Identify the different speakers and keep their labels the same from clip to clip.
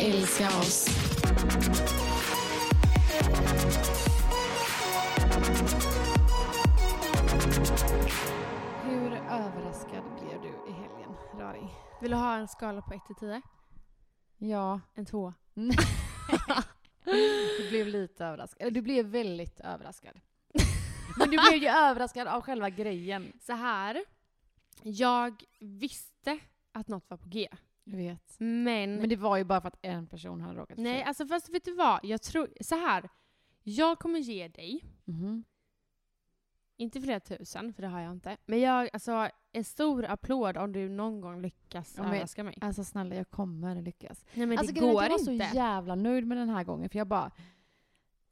Speaker 1: Älska oss.
Speaker 2: Hur överraskad blev du i helgen, Rari?
Speaker 3: Vill du ha en skala på 1 till 10?
Speaker 2: Ja, Mm.
Speaker 3: En 2.
Speaker 2: du blev lite överraskad. Eller du blev väldigt överraskad. Men du blev ju överraskad av själva grejen.
Speaker 3: Så här. Jag visste att något var på G.
Speaker 2: Jag vet.
Speaker 3: Men...
Speaker 2: Men det var ju bara för att en person hade råkat
Speaker 3: nej, alltså fast vet du vad? Jag tror... Så här. Jag kommer ge dig,
Speaker 2: mm
Speaker 3: inte flera tusen, för det har jag inte. Men jag, alltså en stor applåd om du någon gång lyckas
Speaker 2: Ja, men-
Speaker 3: överraska mig.
Speaker 2: Alltså snälla, jag kommer lyckas.
Speaker 3: Nej men
Speaker 2: alltså,
Speaker 3: det
Speaker 2: grejen är
Speaker 3: går
Speaker 2: att
Speaker 3: inte.
Speaker 2: Jag var så jävla nöjd med den här gången, för jag bara...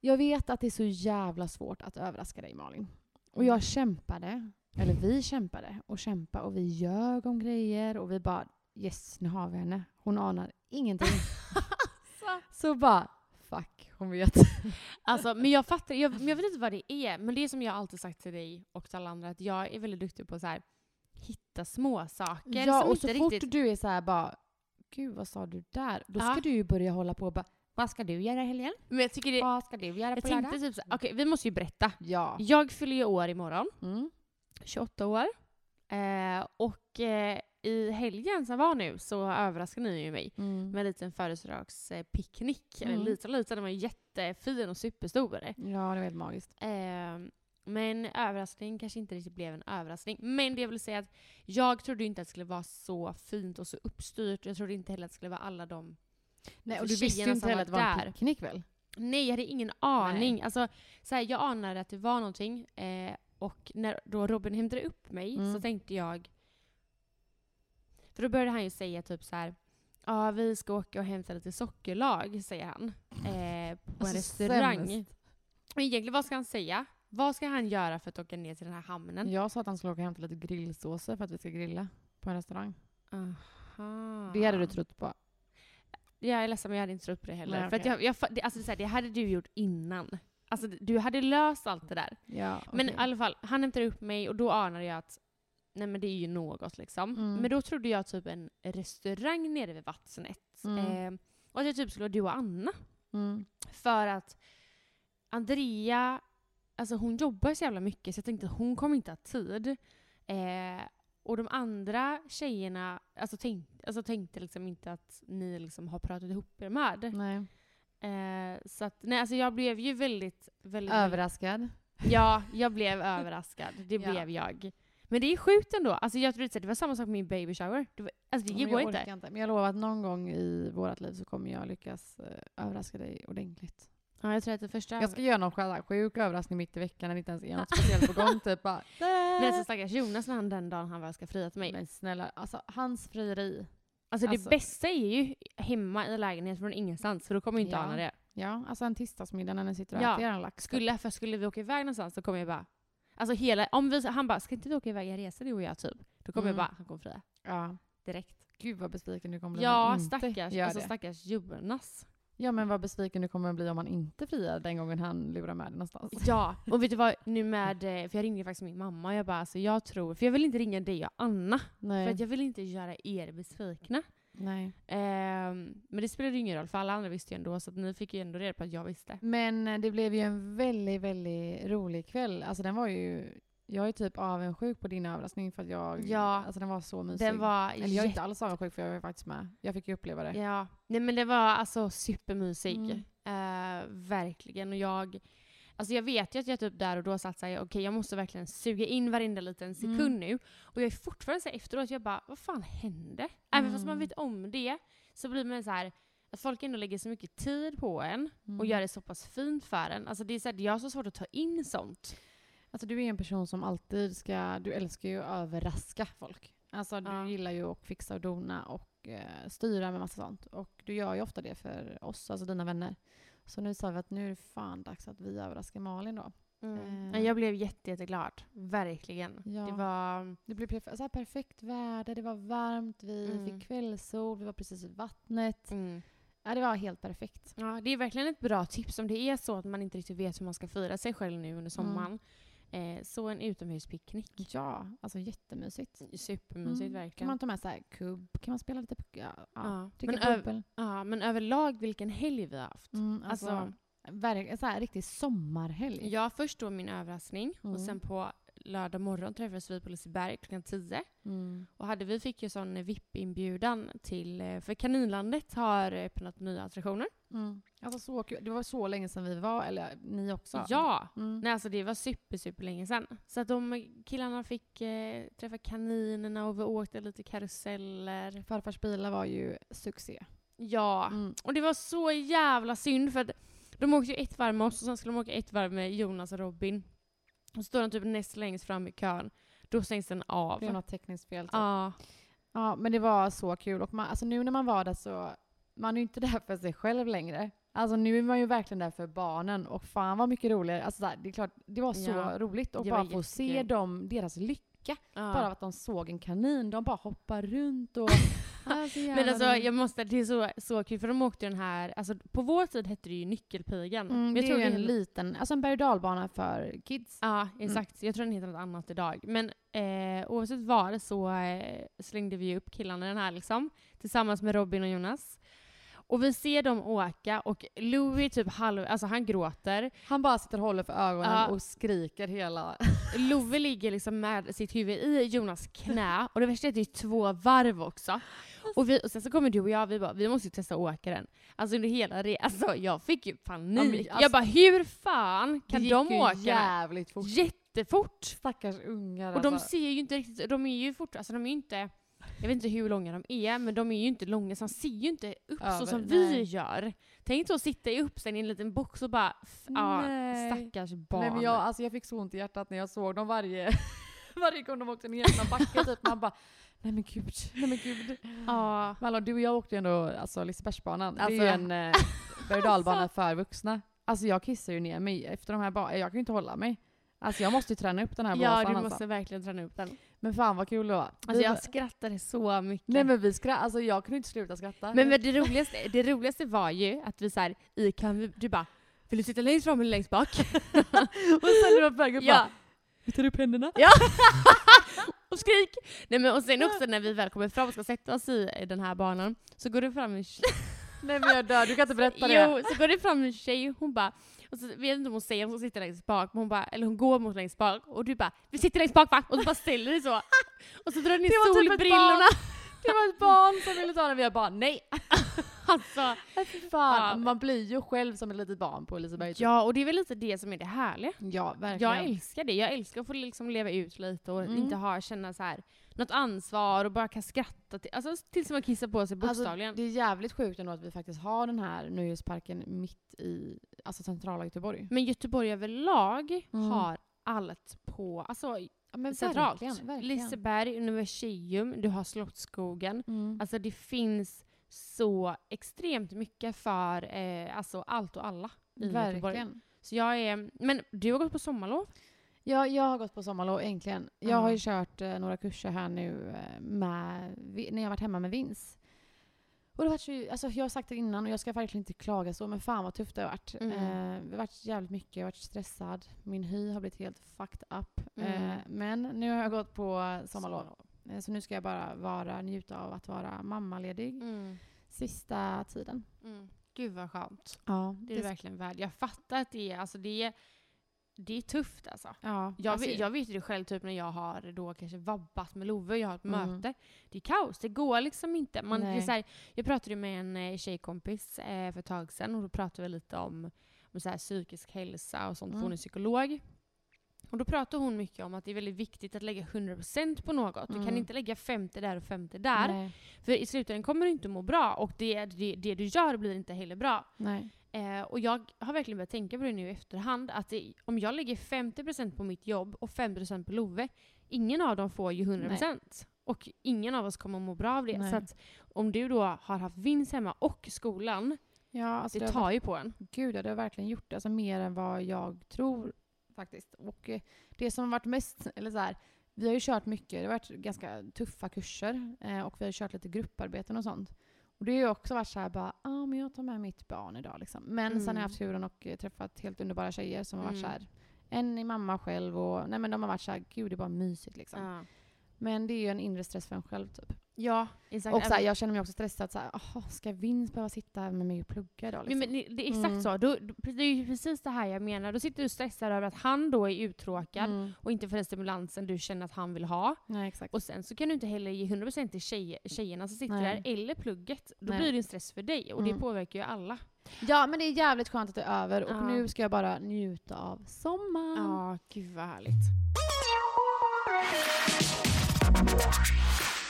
Speaker 2: Jag vet att det är så jävla svårt att överraska dig, Malin. Och
Speaker 3: Mm.
Speaker 2: jag kämpade, eller vi kämpade och kämpade och vi ljög om grejer och vi bara yes, nu har vi henne. Hon anar ingenting. Så bara, fuck, hon vet.
Speaker 3: Alltså, men jag fattar, jag, men jag vet inte vad det är, men det är som jag alltid sagt till dig och till alla andra, att jag är väldigt duktig på att så här, hitta små saker
Speaker 2: Ja,
Speaker 3: som
Speaker 2: och så
Speaker 3: inte
Speaker 2: fort
Speaker 3: riktigt...
Speaker 2: du är så här bara, gud vad sa du där? Då ska
Speaker 3: Ja.
Speaker 2: du ju börja hålla på och bara, vad ska du göra i helgen?
Speaker 3: Men jag tycker det...
Speaker 2: Vad ska du göra
Speaker 3: jag
Speaker 2: på
Speaker 3: tänkte
Speaker 2: lördag?
Speaker 3: typ så här, okej vi måste ju berätta.
Speaker 2: Ja.
Speaker 3: Jag fyller ju år imorgon,
Speaker 2: Mm.
Speaker 3: 28 år. Eh, och eh, i helgen som var nu så överraskade ni ju mig
Speaker 2: Mm.
Speaker 3: med en liten födelsedagspicknick. Eller
Speaker 2: Mm.
Speaker 3: liten och liten, den var jättefin och superstor.
Speaker 2: Ja, det var helt magiskt.
Speaker 3: Eh, men överraskning kanske inte riktigt blev en överraskning. Men det jag vill säga är att jag trodde ju inte att det skulle vara så fint och så uppstyrt. Jag trodde inte heller att det skulle vara alla de...
Speaker 2: Nej,
Speaker 3: För
Speaker 2: och du visste ju
Speaker 3: Alltså, tjejerna
Speaker 2: inte
Speaker 3: som
Speaker 2: heller att det
Speaker 3: var
Speaker 2: var en
Speaker 3: där.
Speaker 2: picknick väl?
Speaker 3: Nej, jag hade ingen aning. Alltså, så här, jag anade att det var någonting. Eh, och när då Robin hämtade upp mig
Speaker 2: Mm.
Speaker 3: så tänkte jag... För då började han ju säga typ så här... Ja, vi ska åka och hämta lite sockerlag, säger han. Eh, på en
Speaker 2: Alltså,
Speaker 3: restaurang.
Speaker 2: sämst.
Speaker 3: Men egentligen, vad ska han säga? Vad ska han göra för att åka ner till den här hamnen?
Speaker 2: Jag sa att han skulle åka och hämta lite grillsåser för att vi ska grilla på en restaurang.
Speaker 3: Aha.
Speaker 2: Det hade du trott på.
Speaker 3: Ja, jag är ledsen men jag hade inte trott på det heller.
Speaker 2: Nej,
Speaker 3: För att
Speaker 2: okej.
Speaker 3: jag, jag, fa- det, alltså, det, är så här, det hade du gjort innan. Alltså, du hade löst allt det där.
Speaker 2: Ja,
Speaker 3: Men i alla fall, han hämtade upp mig och då anade jag att nej men det är ju något liksom.
Speaker 2: Mm.
Speaker 3: Men då trodde jag typ en restaurang nere vid vattnet.
Speaker 2: Mm.
Speaker 3: Eh, och att jag typ skulle vara du och Anna.
Speaker 2: mm.
Speaker 3: För att Andrea, alltså hon jobbar så jävla mycket så jag tänkte att hon kommer inte ha tid. Eh, och de andra tjejerna alltså, tänk, alltså, tänkte liksom inte att ni liksom har pratat ihop er med.
Speaker 2: Nej.
Speaker 3: Eh, så att, nej alltså jag blev ju väldigt, väldigt...
Speaker 2: Överraskad.
Speaker 3: Ja, jag blev överraskad. Det
Speaker 2: Ja.
Speaker 3: blev jag. Men det är sjukt ändå. Alltså jag trodde att det var samma sak med min baby shower. Det var, alltså det
Speaker 2: Men
Speaker 3: går
Speaker 2: jag
Speaker 3: inte.
Speaker 2: orkar Men jag lovar att någon gång i vårt liv så kommer jag lyckas eh, överraska dig ordentligt.
Speaker 3: Ja, jag tror att det första...
Speaker 2: Jag ska göra någon själv- sjuk överraskning mitt i veckan när det inte ens är något speciellt på gång. Typ bara,
Speaker 3: Nej, så stackars Jonas när han den dagen han väl ska fria till mig.
Speaker 2: Men snälla, alltså hans frieri.
Speaker 3: Alltså det
Speaker 2: Alltså-
Speaker 3: bästa är ju hemma i lägenhet från ingenstans, för då kommer ju inte
Speaker 2: Ja.
Speaker 3: Anna det.
Speaker 2: Ja, alltså en tisdagsmiddag när ni sitter och
Speaker 3: Ja.
Speaker 2: äter er lax.
Speaker 3: Skulle, för skulle vi åka iväg någonstans så kommer jag bara... Alltså hela, om vi, han bara, ska inte vi åka iväg en resa du och jag typ? Då kommer
Speaker 2: Mm.
Speaker 3: jag bara, han kommer fria.
Speaker 2: Ja.
Speaker 3: Direkt.
Speaker 2: Gud vad besviken du kommer bli. om
Speaker 3: Ja,
Speaker 2: man inte
Speaker 3: stackars,
Speaker 2: Mm. gör
Speaker 3: alltså,
Speaker 2: det.
Speaker 3: stackars Jonas.
Speaker 2: Ja men vad besviken du kommer att bli om han inte friar den gången han lurar med dig någonstans.
Speaker 3: Ja, och vet du vad? Nu med, eh, för jag ringde faktiskt min mamma och jag bara alltså jag tror, för jag vill inte ringa dig och Anna. För
Speaker 2: Nej.
Speaker 3: att jag vill inte göra er besvikna.
Speaker 2: Nej.
Speaker 3: Ehm, men det spelade ju ingen roll för alla andra visste ju ändå så att ni fick ju ändå reda på att jag visste.
Speaker 2: Men eh, det blev ju en väldigt, väldigt rolig kväll. Alltså den var ju... Jag är typ avundsjuk på din överraskning för att jag...
Speaker 3: Ja.
Speaker 2: Alltså den var så mysig.
Speaker 3: Den var
Speaker 2: Eller jag är inte alls avundsjuk för jag var faktiskt med. Jag fick ju uppleva det.
Speaker 3: Ja, nej men det var alltså supermysig.
Speaker 2: Mm.
Speaker 3: Eh, verkligen. Och jag, alltså jag vet ju att jag typ där och då satt såhär, okej jag måste verkligen suga in varenda liten sekund
Speaker 2: Mm.
Speaker 3: nu. Och jag är fortfarande såhär efteråt, jag bara, vad fan hände? Även fast man
Speaker 2: Mm.
Speaker 3: vet om det så blir man så här att folk ändå lägger så mycket tid på en
Speaker 2: Mm.
Speaker 3: och gör det så pass fint för en. Alltså det är så här, jag har så svårt att ta in sånt.
Speaker 2: Alltså du är en person som alltid ska... Du älskar ju att överraska folk. Alltså du
Speaker 3: Ja.
Speaker 2: gillar ju att fixa och dona och eh, styra med massa sånt. Och du gör ju ofta det för oss, alltså dina vänner. Så nu sa vi att nu är det fan dags att vi överraskar Malin då.
Speaker 3: Mm.
Speaker 2: Eh.
Speaker 3: Jag blev jätte, jätteglad. Verkligen.
Speaker 2: Ja.
Speaker 3: Det var...
Speaker 2: Det blev perf- så här perfekt väder, det var varmt, vi
Speaker 3: Mm.
Speaker 2: fick kvällssol, vi var precis vid vattnet.
Speaker 3: Mm.
Speaker 2: Ja, det var helt perfekt.
Speaker 3: Ja, det är verkligen ett bra tips om det är så att man inte riktigt vet hur man ska fira sig själv nu
Speaker 2: Mm.
Speaker 3: under sommaren. Eh, så en utomhuspicknick.
Speaker 2: Ja, alltså jättemysigt.
Speaker 3: Supermysigt
Speaker 2: Mm. Kan
Speaker 3: verkligen.
Speaker 2: man ta med så här kubb, kan man spela lite puck- ja, ja.
Speaker 3: ja. Men, eh,
Speaker 2: dricka
Speaker 3: öv-
Speaker 2: bubbel.
Speaker 3: ja, men överlag vilken helg vi har haft.
Speaker 2: Mm, alltså,
Speaker 3: Alltså,
Speaker 2: verk- så här riktig sommarhelg.
Speaker 3: jag först då min överraskning och
Speaker 2: Mm.
Speaker 3: sen på lördag morgon träffades vi på Liseberg klockan 10.
Speaker 2: Mm.
Speaker 3: Och hade, vi fick ju sån VIP-inbjudan till, eh, för Kaninlandet har öppnat nya attraktioner.
Speaker 2: Mm. Alltså så kul. Det var så länge sedan vi var, eller ni också.
Speaker 3: Ja!
Speaker 2: Mm.
Speaker 3: Nej, alltså det var super, super länge sedan. Så att de killarna fick eh, träffa kaninerna och vi åkte lite karuseller.
Speaker 2: Farfars bilar var ju succé.
Speaker 3: Ja,
Speaker 2: Mm.
Speaker 3: och det var så jävla synd för att de åkte ju ett varv med oss och sen skulle de åka ett varv med Jonas och Robin. Och så står de typ näst längst fram i kön. Då stängs den av.
Speaker 2: Det var
Speaker 3: Ja,
Speaker 2: något tekniskt fel. typ. Ja, men det var så kul. Och man, alltså nu när man var där så, man är ju inte där för sig själv längre. Alltså nu är man ju verkligen där för barnen och fan vad mycket roligare. Alltså så här, det är klart, det var så
Speaker 3: Ja,
Speaker 2: roligt och
Speaker 3: det
Speaker 2: bara
Speaker 3: var
Speaker 2: få se
Speaker 3: jättekul.
Speaker 2: dem, deras lycka.
Speaker 3: ja.
Speaker 2: Bara av att de såg en kanin, de bara hoppar runt och... alltså,
Speaker 3: Men alltså jag måste, det är så, så kul för de åkte den här, alltså på vår tid hette det ju Nyckelpigan.
Speaker 2: mm,
Speaker 3: Men
Speaker 2: det
Speaker 3: jag tror
Speaker 2: är ju en
Speaker 3: heter-
Speaker 2: liten, alltså en berg och dalbana för kids.
Speaker 3: Ja, exakt. Jag tror den heter något annat idag. Men eh, oavsett vad så eh, slängde vi ju upp killarna i den här liksom. Tillsammans med Robin och Jonas. Och vi ser dem åka och Louis typ halv, alltså han gråter.
Speaker 2: Han bara sitter och håller för ögonen
Speaker 3: Ja.
Speaker 2: och skriker hela...
Speaker 3: Love ligger liksom med sitt huvud i Jonas knä och det värsta är att det är två varv också. Och, vi, och sen så kommer du och jag vi bara, vi måste ju testa att åka den. Alltså under hela resan, alltså jag fick ju
Speaker 2: Ja,
Speaker 3: panik.
Speaker 2: men alltså-
Speaker 3: jag bara hur fan kan
Speaker 2: Det
Speaker 3: de
Speaker 2: gick ju
Speaker 3: åka?
Speaker 2: jävligt fort.
Speaker 3: Jättefort!
Speaker 2: Stackars ungar
Speaker 3: Och de
Speaker 2: alltså.
Speaker 3: ser ju inte riktigt, de är ju fortfarande, alltså de är ju inte, jag vet inte hur långa de är, men de är ju inte långa så de ser ju inte upp
Speaker 2: Över,
Speaker 3: så som vi
Speaker 2: nej.
Speaker 3: gör. Tänk dig att sitta i uppställning i en liten box och bara, f- ja,
Speaker 2: Nej.
Speaker 3: stackars barn.
Speaker 2: Nej, men jag, alltså, jag fick så ont i hjärtat när jag såg dem varje, varje gång de åkte ner i någon backe. Typ. Man bara, nej men gud, nej men gud.
Speaker 3: ja.
Speaker 2: Men hallå, du och jag åkte ju ändå alltså, Lisebergsbanan. det är ju
Speaker 3: Alltså.
Speaker 2: en eh, berg och dalbana för vuxna. Alltså jag kissar ju ner mig efter de här banorna. Jag kan ju inte hålla mig. Alltså jag måste ju träna upp den här blåsan
Speaker 3: ja, du
Speaker 2: alltså.
Speaker 3: måste verkligen träna upp den.
Speaker 2: Men fan vad kul det var.
Speaker 3: Alltså
Speaker 2: Vi-
Speaker 3: jag skrattade så mycket.
Speaker 2: Nej men vi skrattade, alltså jag kunde inte sluta skratta.
Speaker 3: Men, men det, roligaste, det roligaste var ju att vi såhär, i kan vi, du bara, vill du sitta längst fram eller längst bak?
Speaker 2: och sen när de var på väg upp
Speaker 3: ja.
Speaker 2: bara, vi tar upp händerna.
Speaker 3: Ja! och skrik! Nej, men, och sen också när vi väl kommer fram och ska sätta oss i den här banan så går det fram en tjej.
Speaker 2: Nej men jag dör, du kan inte berätta det.
Speaker 3: Jo, så går det fram en tjej och hon bara, och så vet jag inte om hon säger om hon sitter längst bak, men hon bara, eller hon går mot längst bak och du bara vi sitter längst bak va? Och så bara ställer dig så. Och så drar ni
Speaker 2: Det var typ ett
Speaker 3: solbrillorna.
Speaker 2: Det var ett barn som ville ta den och jag bara nej.
Speaker 3: alltså,
Speaker 2: Nej, fy fan.
Speaker 3: Ja.
Speaker 2: Man blir ju själv som ett litet barn på Liseberg. typ.
Speaker 3: ja, och det är väl lite det som är det härliga.
Speaker 2: ja verkligen.
Speaker 3: Jag älskar det. Jag älskar att få liksom leva ut lite och
Speaker 2: Mm.
Speaker 3: inte ha, känna så här något ansvar och bara kan skratta till, alltså, tills man kissar på sig bokstavligen.
Speaker 2: Alltså, det är jävligt sjukt ändå att vi faktiskt har den här nöjesparken mitt i alltså, centrala Göteborg.
Speaker 3: Men Göteborg överlag
Speaker 2: Mm.
Speaker 3: har allt på, alltså
Speaker 2: Ja, men
Speaker 3: centralt.
Speaker 2: Verkligen, verkligen.
Speaker 3: Liseberg, Universium, du har Slottsskogen.
Speaker 2: Mm.
Speaker 3: Alltså det finns så extremt mycket för eh, alltså allt och alla i Göteborg.
Speaker 2: verkligen.
Speaker 3: Så jag är, men du har gått på sommarlov?
Speaker 2: Ja, jag har gått på sommarlov äntligen. Jag har ju
Speaker 3: Ja.
Speaker 2: kört eh, några kurser här nu eh, med, vi- när jag varit hemma med Vins. Och det var så, alltså, jag har sagt det innan och jag ska verkligen inte klaga så, men fan vad tufft det har varit.
Speaker 3: Mm.
Speaker 2: Eh, det har varit jävligt mycket, jag har varit stressad. Min hy har blivit helt fucked up.
Speaker 3: Mm.
Speaker 2: Eh, men nu har jag gått på sommarlov. Eh, så nu ska jag bara vara, njuta av att vara mammaledig
Speaker 3: Mm.
Speaker 2: sista tiden.
Speaker 3: Mm. Gud vad skönt.
Speaker 2: Ja,
Speaker 3: Det är verkligen värd. Jag fattar att det är, alltså det är, det är tufft alltså.
Speaker 2: Ja,
Speaker 3: Jag,
Speaker 2: alltså-
Speaker 3: vet, jag vet ju det själv typ när jag har då kanske vabbat med Love, jag har ett
Speaker 2: Mm.
Speaker 3: möte. Det är kaos, det går liksom inte. Man, det är
Speaker 2: Nej.
Speaker 3: så här, jag pratade ju med en eh, tjejkompis eh, för ett tag sedan och då pratade vi lite om, om så här, psykisk hälsa och sånt, för
Speaker 2: Mm.
Speaker 3: hon är psykolog. Och då pratade hon mycket om att det är väldigt viktigt att lägga 100% på något. Du kan
Speaker 2: Mm.
Speaker 3: inte lägga 50 där och 50 där.
Speaker 2: Nej,
Speaker 3: För i slutändan kommer du inte må bra och det, det, det du gör blir inte heller bra.
Speaker 2: nej.
Speaker 3: Eh, och jag har verkligen börjat tänka på det nu i efterhand. Att det, om jag lägger 50% på mitt jobb och 50% på Love, ingen av dem får ju 100%. Och ingen av oss kommer att må bra av det.
Speaker 2: Nej.
Speaker 3: Så att om du då har haft vinst hemma och skolan,
Speaker 2: Ja, alltså
Speaker 3: det
Speaker 2: det har
Speaker 3: tar ju på en.
Speaker 2: Gud, ja, det har verkligen gjort det. Alltså mer än vad jag tror faktiskt. Och eh, det som har varit mest, eller så här, vi har ju kört mycket, det har varit ganska tuffa kurser eh, och vi har kört lite grupparbeten och sånt. Och det har ju också varit så här bara, ah, men jag tar med mitt barn idag liksom. Men sen har
Speaker 3: Mm.
Speaker 2: jag haft turen och eh, träffat helt underbara tjejer som har varit så
Speaker 3: Mm.
Speaker 2: här, en är mamma själv och nej men de har varit så här, gud det är bara mysigt liksom. Men det är ju en inre stress för en själv typ.
Speaker 3: Ja, exakt.
Speaker 2: Och så här, jag känner mig också stressad så här, "Aha, ska Vince behöva sitta här med mig och plugga idag
Speaker 3: Nej,
Speaker 2: liksom?
Speaker 3: men det, det är exakt
Speaker 2: Mm.
Speaker 3: så. Då, då- det är ju precis det här jag menar. Då sitter du stressad över att han då är uttråkad
Speaker 2: Mm.
Speaker 3: och inte får den stimulansen du känner att han vill ha.
Speaker 2: Nej, exakt.
Speaker 3: Och sen så kan du inte heller ge 100% till tjejer, tjejerna som sitter
Speaker 2: Nej.
Speaker 3: där, eller plugget. Då
Speaker 2: Nej.
Speaker 3: blir det en stress för dig och det
Speaker 2: Mm.
Speaker 3: påverkar ju alla.
Speaker 2: Ja, men det är jävligt skönt att det är över och
Speaker 3: Ja.
Speaker 2: nu ska jag bara njuta av sommaren.
Speaker 3: gud vad härligt.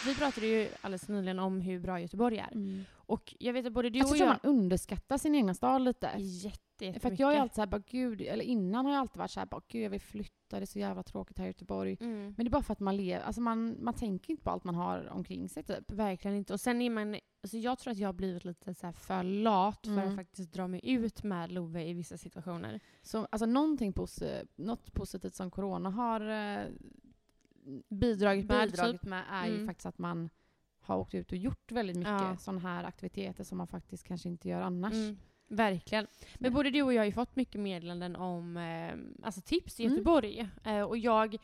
Speaker 3: Vi pratade ju alldeles nyligen om hur bra Göteborg är.
Speaker 2: Mm.
Speaker 3: Och jag vet att både du
Speaker 2: Alltså,
Speaker 3: och
Speaker 2: jag tror
Speaker 3: jag...
Speaker 2: man underskattar sin egna stad lite.
Speaker 3: Jätte,
Speaker 2: För att
Speaker 3: jättemycket.
Speaker 2: jag är alltid såhär, bara gud, eller innan har jag alltid varit såhär, bara gud jag vill flytta, det är så jävla tråkigt här i Göteborg.
Speaker 3: Mm.
Speaker 2: Men det är bara för att man lever, alltså man, man tänker inte på allt man har omkring sig typ.
Speaker 3: Verkligen inte. Och sen är man... Alltså jag tror att jag har blivit lite så här för lat för
Speaker 2: Mm.
Speaker 3: att faktiskt dra mig ut med Love i vissa situationer.
Speaker 2: Så alltså någonting posi- något positivt som corona har eh, bidragit
Speaker 3: med,
Speaker 2: bidragit med är ju
Speaker 3: Mm.
Speaker 2: faktiskt att man har åkt ut och gjort väldigt mycket
Speaker 3: Ja.
Speaker 2: sådana här aktiviteter som man faktiskt kanske inte gör annars.
Speaker 3: Mm, verkligen. Men
Speaker 2: Nej.
Speaker 3: både du och jag har ju fått mycket meddelanden om eh, alltså tips i
Speaker 2: Mm.
Speaker 3: Göteborg. Eh, och jag,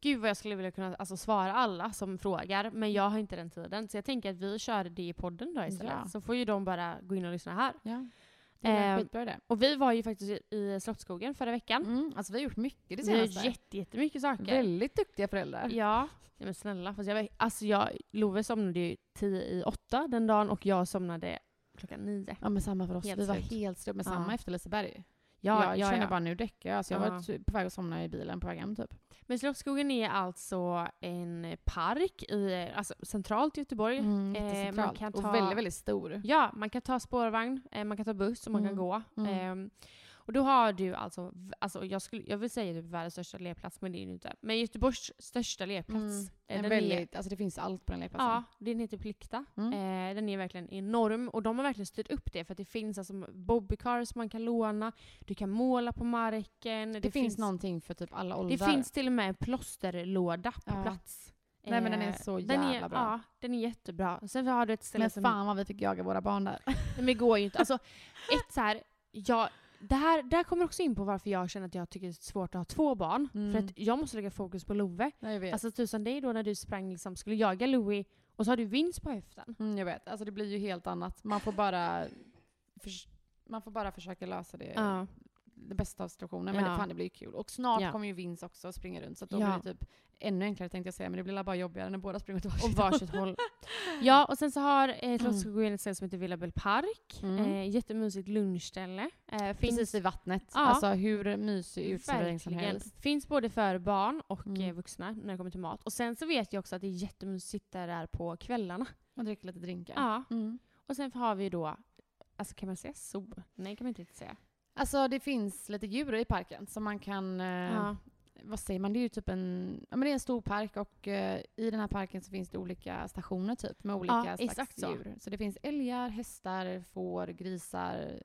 Speaker 3: gud vad jag skulle vilja kunna alltså, svara alla som frågar, men jag har inte den tiden. Så jag tänker att vi kör det i podden då istället.
Speaker 2: Ja.
Speaker 3: Så får ju de bara gå in och lyssna här.
Speaker 2: Ja. Det är
Speaker 3: Eh,
Speaker 2: skitbra det.
Speaker 3: Och vi var ju faktiskt i- i Slottsskogen förra veckan.
Speaker 2: Mm, alltså vi har gjort mycket det
Speaker 3: Vi har
Speaker 2: senaste.
Speaker 3: jätte, jättemycket saker.
Speaker 2: Väldigt duktiga föräldrar.
Speaker 3: Ja. Nej, men snälla. Fast jag, var- alltså jag, Love somnade ju tio i åtta den dagen och jag somnade klockan nio.
Speaker 2: Ja men samma för oss.
Speaker 3: Helt
Speaker 2: vi var
Speaker 3: slut.
Speaker 2: helt slut. Men
Speaker 3: Ja.
Speaker 2: samma efter Liseberg.
Speaker 3: Ja,
Speaker 2: jag
Speaker 3: ja,
Speaker 2: kände
Speaker 3: ja.
Speaker 2: bara nu däckar jag. Alltså, jag
Speaker 3: Ja.
Speaker 2: var typ på väg att somna i bilen på väg hem typ.
Speaker 3: Men Slottsskogen är alltså en park i alltså, centralt Göteborg.
Speaker 2: Mm,
Speaker 3: eh,
Speaker 2: jättecentralt.
Speaker 3: man kan ta-
Speaker 2: Och väldigt, väldigt stor. Eh,
Speaker 3: Ja, man kan ta spårvagn, eh, man kan ta buss och man kan
Speaker 2: Mm,
Speaker 3: gå.
Speaker 2: mm.
Speaker 3: Eh, och då har du alltså, v- alltså jag, skulle, jag vill säga typ världens största lekplats, men det är det inte. Men Göteborgs största lekplats.
Speaker 2: Mm.
Speaker 3: Eh,
Speaker 2: En
Speaker 3: den är,
Speaker 2: väldigt, alltså det finns allt på den lekplatsen.
Speaker 3: ja, den heter typ Plikta.
Speaker 2: Mm.
Speaker 3: Eh, den är verkligen enorm och de har verkligen styrt upp det för att det finns alltså bobbycars man kan låna, du kan måla på marken.
Speaker 2: det, finns, någonting för typ alla
Speaker 3: Det
Speaker 2: åldrar.
Speaker 3: finns till och med en plåsterlåda på
Speaker 2: Ja.
Speaker 3: plats.
Speaker 2: Nej, men den är
Speaker 3: Eh,
Speaker 2: så
Speaker 3: den är,
Speaker 2: jävla bra.
Speaker 3: Ja, den är jättebra. Sen har du ett ställe
Speaker 2: men
Speaker 3: som...
Speaker 2: fan vad vi fick jaga våra barn där.
Speaker 3: Nej, men det går ju inte. Alltså, ett så här, jag, det här, där kommer också in på varför jag känner att jag tycker det är svårt att ha två barn.
Speaker 2: Mm.
Speaker 3: För att jag måste lägga fokus på Love.
Speaker 2: Nej, jag vet.
Speaker 3: Alltså tusan dig då när du sprang liksom, skulle jaga Louie och så har du vinst på höften.
Speaker 2: mm, jag vet. Alltså det blir ju helt annat. Man får bara, förs- man får bara försöka lösa det
Speaker 3: Ja.
Speaker 2: det bästa av situationen. Men
Speaker 3: Ja.
Speaker 2: det, fan, det blir ju kul. Och snart
Speaker 3: Ja.
Speaker 2: kommer ju Vince också springa runt. Så att då
Speaker 3: Ja.
Speaker 2: blir det typ ännu enklare tänkte jag säga. Men det blir la bara jobbigare när båda springer åt
Speaker 3: Och
Speaker 2: varsitt
Speaker 3: varsitt håll. Ja, och sen så har eh, Slottsskogen ett ställe som heter Villa Bell Park.
Speaker 2: Mm.
Speaker 3: Eh, jättemysigt lunchställe. Eh, finns
Speaker 2: Precis i vattnet.
Speaker 3: Ja.
Speaker 2: Alltså hur mysig uteservering som
Speaker 3: Verkligen.
Speaker 2: helst.
Speaker 3: Finns både för barn och
Speaker 2: Mm.
Speaker 3: eh, vuxna när det kommer till mat. Och sen så vet jag också att det är jättemysigt att sitta där på kvällarna.
Speaker 2: Och dricka lite drinkar.
Speaker 3: Ja.
Speaker 2: Mm.
Speaker 3: Och sen har vi då, alltså kan man säga sol? Nej kan man inte riktigt säga.
Speaker 2: Alltså det finns lite djur i parken som man kan... Eh,
Speaker 3: Ja.
Speaker 2: Vad säger man? Det är ju typ en... Ja men det är en stor park och eh, i den här parken så finns det olika stationer typ med olika
Speaker 3: Ja,
Speaker 2: slags
Speaker 3: exakt så.
Speaker 2: djur. Så det finns älgar, hästar, får, grisar,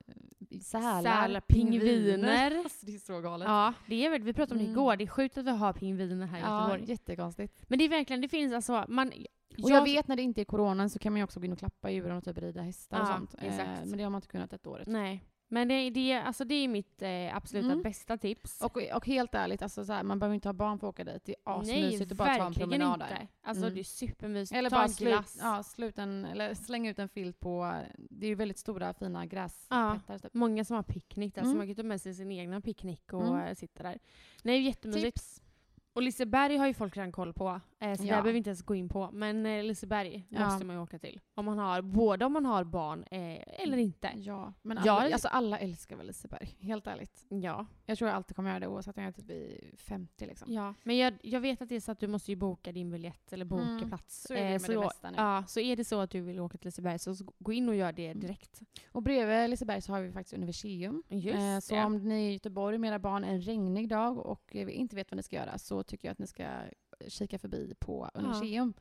Speaker 2: eh, sälar,
Speaker 3: Sälar, pingviner.
Speaker 2: Alltså, det är så galet.
Speaker 3: Ja, det är väl, vi pratade om det
Speaker 2: Mm.
Speaker 3: igår, det är sjukt att vi har pingviner här i
Speaker 2: Ja,
Speaker 3: Göteborg.
Speaker 2: jättekonstigt.
Speaker 3: Men det är verkligen, det finns alltså, man, jag
Speaker 2: Och jag, vet när det inte är coronan så kan man ju också gå in och klappa djuren och typ rida hästar och
Speaker 3: Ja,
Speaker 2: sånt. Eh,
Speaker 3: exakt.
Speaker 2: Men det har man inte kunnat ett året.
Speaker 3: Nej. Men det, det, alltså det är mitt eh, absoluta
Speaker 2: Mm.
Speaker 3: bästa tips.
Speaker 2: Och, och helt ärligt, alltså så här, man behöver inte ha barn för att åka dit. Det är
Speaker 3: Nej,
Speaker 2: asmysigt att bara ta en
Speaker 3: verkligen
Speaker 2: promenad där.
Speaker 3: inte. Alltså
Speaker 2: Mm.
Speaker 3: det är supermysigt.
Speaker 2: Eller
Speaker 3: Ta
Speaker 2: bara
Speaker 3: en
Speaker 2: slut,
Speaker 3: glass.
Speaker 2: ja, slut en, eller släng ut en filt på, det är ju väldigt stora fina
Speaker 3: Ja.
Speaker 2: gräsplättar. Typ.
Speaker 3: Många som har picknick där, så
Speaker 2: Mm.
Speaker 3: man kan ta med sig sin egna picknick och
Speaker 2: Mm.
Speaker 3: eh, sitta där. Nej, det är jättemysigt.
Speaker 2: Tips!
Speaker 3: Och Liseberg har ju folk redan koll på, eh, så
Speaker 2: Ja.
Speaker 3: där behöver vi inte ens gå in på. Men eh, Liseberg
Speaker 2: Ja.
Speaker 3: måste man ju åka till. Om man har, både om man har barn eh, eller inte.
Speaker 2: Ja, men
Speaker 3: Ja,
Speaker 2: alla,
Speaker 3: det-
Speaker 2: alltså alla älskar väl Liseberg, helt ärligt.
Speaker 3: Ja.
Speaker 2: Jag tror jag alltid kommer göra det oavsett om jag typ är 50 liksom.
Speaker 3: ja. Men jag, jag vet att det är så att du måste ju boka din biljett eller boka
Speaker 2: Mm,
Speaker 3: plats.
Speaker 2: Så är det med det
Speaker 3: så,
Speaker 2: mesta nu.
Speaker 3: ja, så är det så att du vill åka till Liseberg så s- gå in och gör det
Speaker 2: Mm.
Speaker 3: direkt.
Speaker 2: Och bredvid Liseberg så har vi faktiskt Universium.
Speaker 3: Just
Speaker 2: Eh, så
Speaker 3: det.
Speaker 2: om ni är i Göteborg med era barn en regnig dag och eh, inte vet vad ni ska göra så tycker jag att ni ska kika förbi på Universium.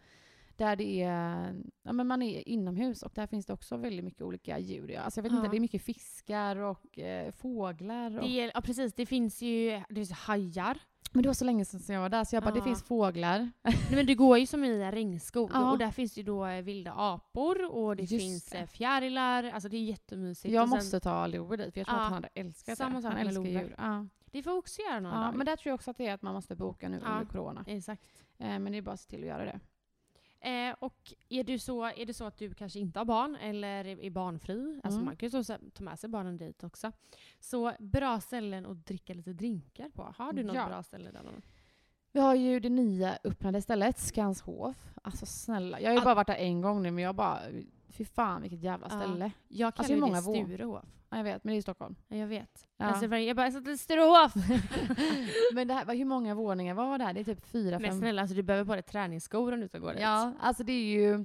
Speaker 2: Där det är, ja, men man är inomhus och där finns det också väldigt mycket olika djur. Ja. Alltså jag vet
Speaker 3: Ja.
Speaker 2: inte, det är mycket fiskar och eh, fåglar. Och,
Speaker 3: Det är, ja precis, det finns ju det finns hajar.
Speaker 2: men det var så länge sedan som jag var där så jag bara,
Speaker 3: Ja.
Speaker 2: det finns fåglar.
Speaker 3: Nej, men du går ju som i en regnskog
Speaker 2: Ja.
Speaker 3: och där finns ju då eh, vilda apor och det
Speaker 2: Just
Speaker 3: finns
Speaker 2: det.
Speaker 3: eh, fjärilar. Alltså det är jättemysigt.
Speaker 2: jag
Speaker 3: Och sen-
Speaker 2: måste ta Lover dit för jag tror
Speaker 3: Ja.
Speaker 2: att han hade älskat
Speaker 3: Samma
Speaker 2: det.
Speaker 3: sak
Speaker 2: Han
Speaker 3: med
Speaker 2: älskar
Speaker 3: Lover.
Speaker 2: djur. Ja.
Speaker 3: Det får vi också göra någon
Speaker 2: Ja,
Speaker 3: dag.
Speaker 2: men där tror jag också att det är att man måste boka nu
Speaker 3: Ja.
Speaker 2: under corona.
Speaker 3: Exakt.
Speaker 2: Eh, men det är bara att se till att göra det.
Speaker 3: Eh, och är, du så, är det så att du kanske inte har barn eller är är barnfri, alltså
Speaker 2: Mm.
Speaker 3: man kan ju så- så ta med sig barnen dit också. Så bra ställen att dricka lite drinkar på. Har du något
Speaker 2: Ja.
Speaker 3: bra ställe där? Någon?
Speaker 2: Vi har ju det nya öppnade stället, Skanshof. Alltså snälla, jag har ju
Speaker 3: Ah.
Speaker 2: bara varit där en gång nu men jag bara, fy fan vilket jävla
Speaker 3: Ja.
Speaker 2: ställe.
Speaker 3: Jag
Speaker 2: Alltså,
Speaker 3: kallar ju
Speaker 2: hur
Speaker 3: det
Speaker 2: många våg?
Speaker 3: Sturehof.
Speaker 2: Ja, jag vet, men det är i Stockholm.
Speaker 3: Ja, jag vet. Alltså,
Speaker 2: Ja.
Speaker 3: Jag, ser varje- jag bara, jag satt i Sturehof!
Speaker 2: men det här, vad- hur många våningar var det här? Det är typ fyra,
Speaker 3: Men
Speaker 2: fem?
Speaker 3: snälla, alltså, du behöver bara träningsskor om du ska gå dit.
Speaker 2: Ja, alltså det är ju...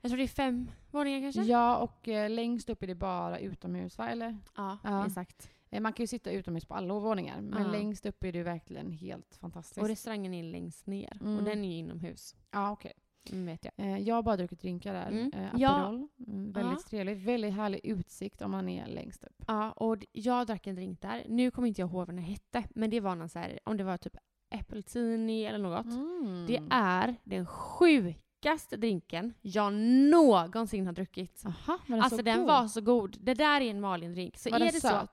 Speaker 3: Jag tror det är fem våningar kanske?
Speaker 2: Ja, och eh, längst upp är det bara utomhus va? Eller?
Speaker 3: Ja,
Speaker 2: Ja.
Speaker 3: exakt.
Speaker 2: Eh, man kan ju sitta utomhus på alla våningar, men
Speaker 3: Ja.
Speaker 2: längst upp är det ju verkligen helt fantastiskt.
Speaker 3: Och restaurangen är längst ner.
Speaker 2: Mm.
Speaker 3: Och den är ju inomhus.
Speaker 2: ja, okej.
Speaker 3: Mm, vet jag.
Speaker 2: Eh, jag har bara druckit drinkar där.
Speaker 3: Mm.
Speaker 2: Eh,
Speaker 3: Ja.
Speaker 2: Aperol. Mm, väldigt
Speaker 3: Ja.
Speaker 2: trevligt. Väldigt härlig utsikt om man är längst upp.
Speaker 3: Ja, och d- jag drack en drink där. Nu kommer inte jag ihåg vad den hette, men det var någon så här, om det var typ äppeltini eller något. Det är den sjukaste drinken jag någonsin har druckit.
Speaker 2: Aha, var den
Speaker 3: alltså
Speaker 2: så
Speaker 3: den
Speaker 2: god?
Speaker 3: var så god. Det där är en Malin-drink. Så
Speaker 2: Var
Speaker 3: är
Speaker 2: den
Speaker 3: det så...
Speaker 2: söt?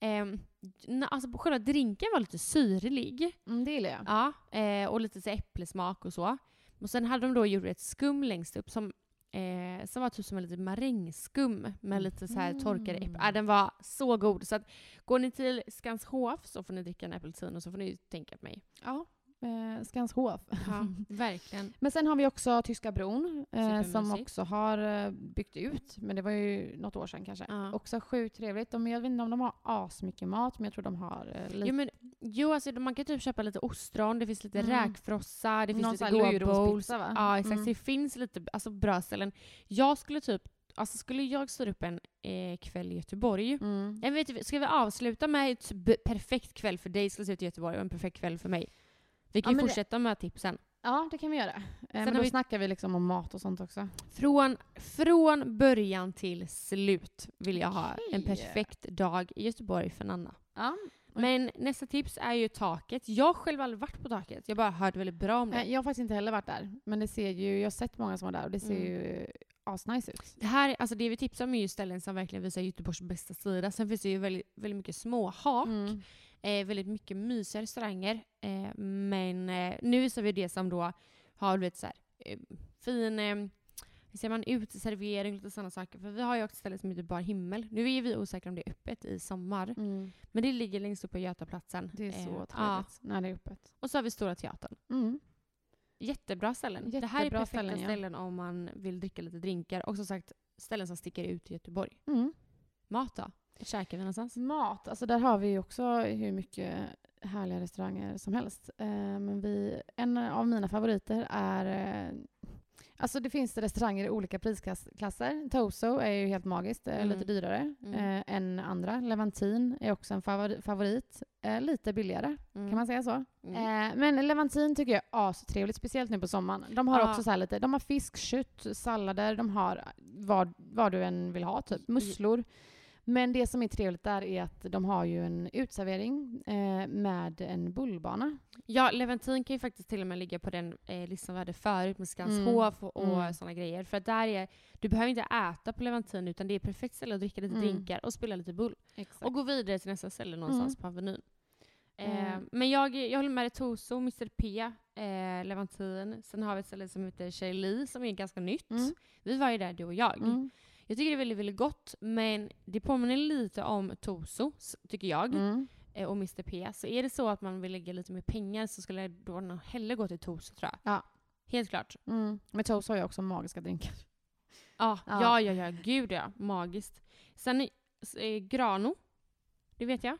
Speaker 3: Ehm, na- alltså själva drinken var lite syrlig.
Speaker 2: Mm, det gillar jag.
Speaker 3: Ja, eh, och lite så här äpplesmak och så. Och sen hade de då gjort ett skum längst upp som, eh, som var typ som en liten marängskum med lite så här torkade äpplen.
Speaker 2: Mhm.
Speaker 3: Ah, den var så god. Så att, går ni till Skanshof så får ni dricka en apelsin och så får ni tänka på mig.
Speaker 2: Ja. Eh, Skanshof.
Speaker 3: Ja, verkligen.
Speaker 2: Men sen har vi också Tyska bron eh, som
Speaker 3: Supermysigt.
Speaker 2: också har eh, byggt ut. Men det var ju något år sedan kanske.
Speaker 3: Ja.
Speaker 2: Också sjukt trevligt. De, jag vet inte om de har asmycket mat men jag tror de har eh, lite.
Speaker 3: Jo, men, jo alltså, man kan typ köpa lite ostron, det finns lite
Speaker 2: Mm.
Speaker 3: räkfrossa, det finns
Speaker 2: Någon
Speaker 3: lite
Speaker 2: sån här
Speaker 3: goa bowls.
Speaker 2: löjromspizza, va?
Speaker 3: Ja exakt,
Speaker 2: Mm.
Speaker 3: det finns lite alltså, bra ställen. Jag skulle typ, alltså skulle jag styra upp en eh, kväll i Göteborg
Speaker 2: mm.
Speaker 3: Jag vet, inte, ska vi avsluta med ett b- perfekt kväll för dig skulle se ut i Göteborg och en perfekt kväll för mig? Vi kan
Speaker 2: Ja,
Speaker 3: ju
Speaker 2: men det-
Speaker 3: fortsätta med tipsen.
Speaker 2: ja, det kan vi göra. Eh, men
Speaker 3: har
Speaker 2: då
Speaker 3: vi-
Speaker 2: snackar vi liksom om mat och sånt också.
Speaker 3: Från, från början till slut vill jag ha en
Speaker 2: Okej.
Speaker 3: perfekt dag i Göteborg för Nanna.
Speaker 2: Ja.
Speaker 3: Men nästa tips är ju taket. Jag har själv aldrig varit på taket. Jag bara hört väldigt bra om det.
Speaker 2: Eh, Jag har faktiskt inte heller varit där. Men det ser ju, jag har sett många som var där och det ser
Speaker 3: Mm.
Speaker 2: ju asnice ut.
Speaker 3: Det här, alltså det vi tipsar om är ju ställen som verkligen visar Göteborgs bästa sida. Sen finns det ju väldigt, väldigt mycket småhak.
Speaker 2: Mm.
Speaker 3: eh, väldigt mycket mysiga restauranger. Eh, men eh, nu visar vi det som då har du vet, så här, eh, fin eh, hur säger man, uteservering och lite sådana saker. För vi har ju också ett ställe som heter Bar Himmel. Nu är vi osäkra om det är öppet i sommar.
Speaker 2: Mm.
Speaker 3: Men det ligger längst upp på Götaplatsen.
Speaker 2: Det är så
Speaker 3: Eh,
Speaker 2: trevligt
Speaker 3: ja.
Speaker 2: när det är öppet.
Speaker 3: Och så har vi Stora Teatern.
Speaker 2: Mm.
Speaker 3: Jättebra ställen. det här är
Speaker 2: Jättebra
Speaker 3: perfekta
Speaker 2: ställen,
Speaker 3: ställen,
Speaker 2: ja.
Speaker 3: om man vill dricka lite drinkar. Och som sagt, ställen som sticker ut i Göteborg.
Speaker 2: Mm.
Speaker 3: Mat då? Käkar vi någonstans?
Speaker 2: Mat, alltså där har vi ju också hur mycket härliga restauranger som helst. Eh, men vi, en av mina favoriter är... Eh, alltså det finns restauranger i olika prisklasser. Toso är ju helt magiskt, eh,
Speaker 3: Mm.
Speaker 2: lite dyrare
Speaker 3: Mm.
Speaker 2: eh, än andra. Levantin är också en favori- favorit. Eh, lite billigare, kan man säga så?
Speaker 3: Mm.
Speaker 2: Eh, men Levantin tycker jag är astrevligt, speciellt nu på sommaren. De har
Speaker 3: Ja.
Speaker 2: också så här lite, de har fisk, kött, sallader, de har vad, vad du än vill ha typ. Musslor. Men det som är trevligt där är att de har ju en utservering eh, med en bullbana.
Speaker 3: Ja, Leventin kan ju faktiskt till och med ligga på den eh, listan vi hade förut
Speaker 2: Mm.
Speaker 3: med Skanshof och, och
Speaker 2: Mm.
Speaker 3: sådana grejer. För att där är, du behöver inte äta på Leventin utan det är ett perfekt ställe att dricka lite
Speaker 2: Mm.
Speaker 3: drinkar och spela lite bull. Och
Speaker 2: Och,
Speaker 3: gå vidare till nästa ställe någonstans på Avenyn. Eh,
Speaker 2: Mm.
Speaker 3: men jag, jag håller med dig Toso, Mr P, eh, Leventin. Sen har vi ett ställe som heter Chélie som är ganska nytt.
Speaker 2: Mm.
Speaker 3: Vi var ju där du och jag.
Speaker 2: mm.
Speaker 3: Jag tycker det är väldigt, väldigt gott men det påminner lite om Toso, s- tycker jag
Speaker 2: Mm.
Speaker 3: eh, och Mr P. Så är det så att man vill lägga lite mer pengar så skulle jag då nog hellre gå till Tors tror jag.
Speaker 2: Ja.
Speaker 3: Helt klart.
Speaker 2: Mm. Men Toast har ju också magiska drinkar.
Speaker 3: Ja,
Speaker 2: Ja.
Speaker 3: ja, ja, ja. Gud ja. Magiskt. Sen i- s- eh, Grano. Det vet jag.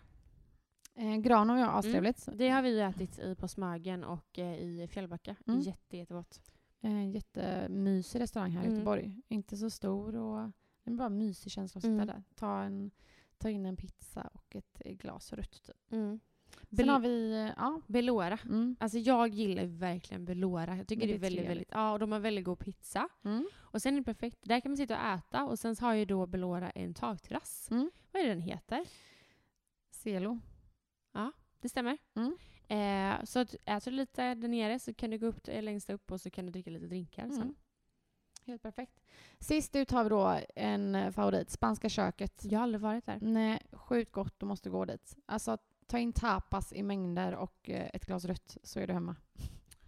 Speaker 2: Eh, Grano ja, astrevligt.
Speaker 3: Mm. Det har vi ju ätit i på Smögen och eh, i Fjällbacka.
Speaker 2: Mm.
Speaker 3: Jätte, jättegott.
Speaker 2: Eh, jättemysig restaurang här i
Speaker 3: Mm.
Speaker 2: Göteborg. Inte så stor och det är bara mysig känsla att sitta
Speaker 3: Mm.
Speaker 2: där. Ta, en, ta in en pizza och ett eh, glas rött typ.
Speaker 3: Mm.
Speaker 2: Sen
Speaker 3: Bel-
Speaker 2: har vi, eh, ja.
Speaker 3: Belora.
Speaker 2: Mm.
Speaker 3: Alltså jag gillar ju verkligen Belora. Jag tycker
Speaker 2: Men
Speaker 3: det
Speaker 2: det
Speaker 3: är
Speaker 2: är
Speaker 3: väldigt,
Speaker 2: trevligt.
Speaker 3: väldigt... Ja, och de har väldigt god pizza.
Speaker 2: Mm.
Speaker 3: Och sen är det perfekt. Där kan man sitta och äta och sen så har ju då Belora en takterrass.
Speaker 2: Mm.
Speaker 3: Vad är det den heter?
Speaker 2: Selo.
Speaker 3: Det stämmer.
Speaker 2: Mm.
Speaker 3: Eh, så att äter du lite där nere så kan du gå upp eh, längst upp och så kan du dricka lite drinkar
Speaker 2: Mm.
Speaker 3: sen.
Speaker 2: Helt perfekt. Sist ut har vi då en eh, favorit, Spanska köket.
Speaker 3: Jag har aldrig varit där.
Speaker 2: Nej, sjukt gott. Du måste gå dit. Alltså, ta in tapas i mängder och eh, ett glas rött så är du hemma.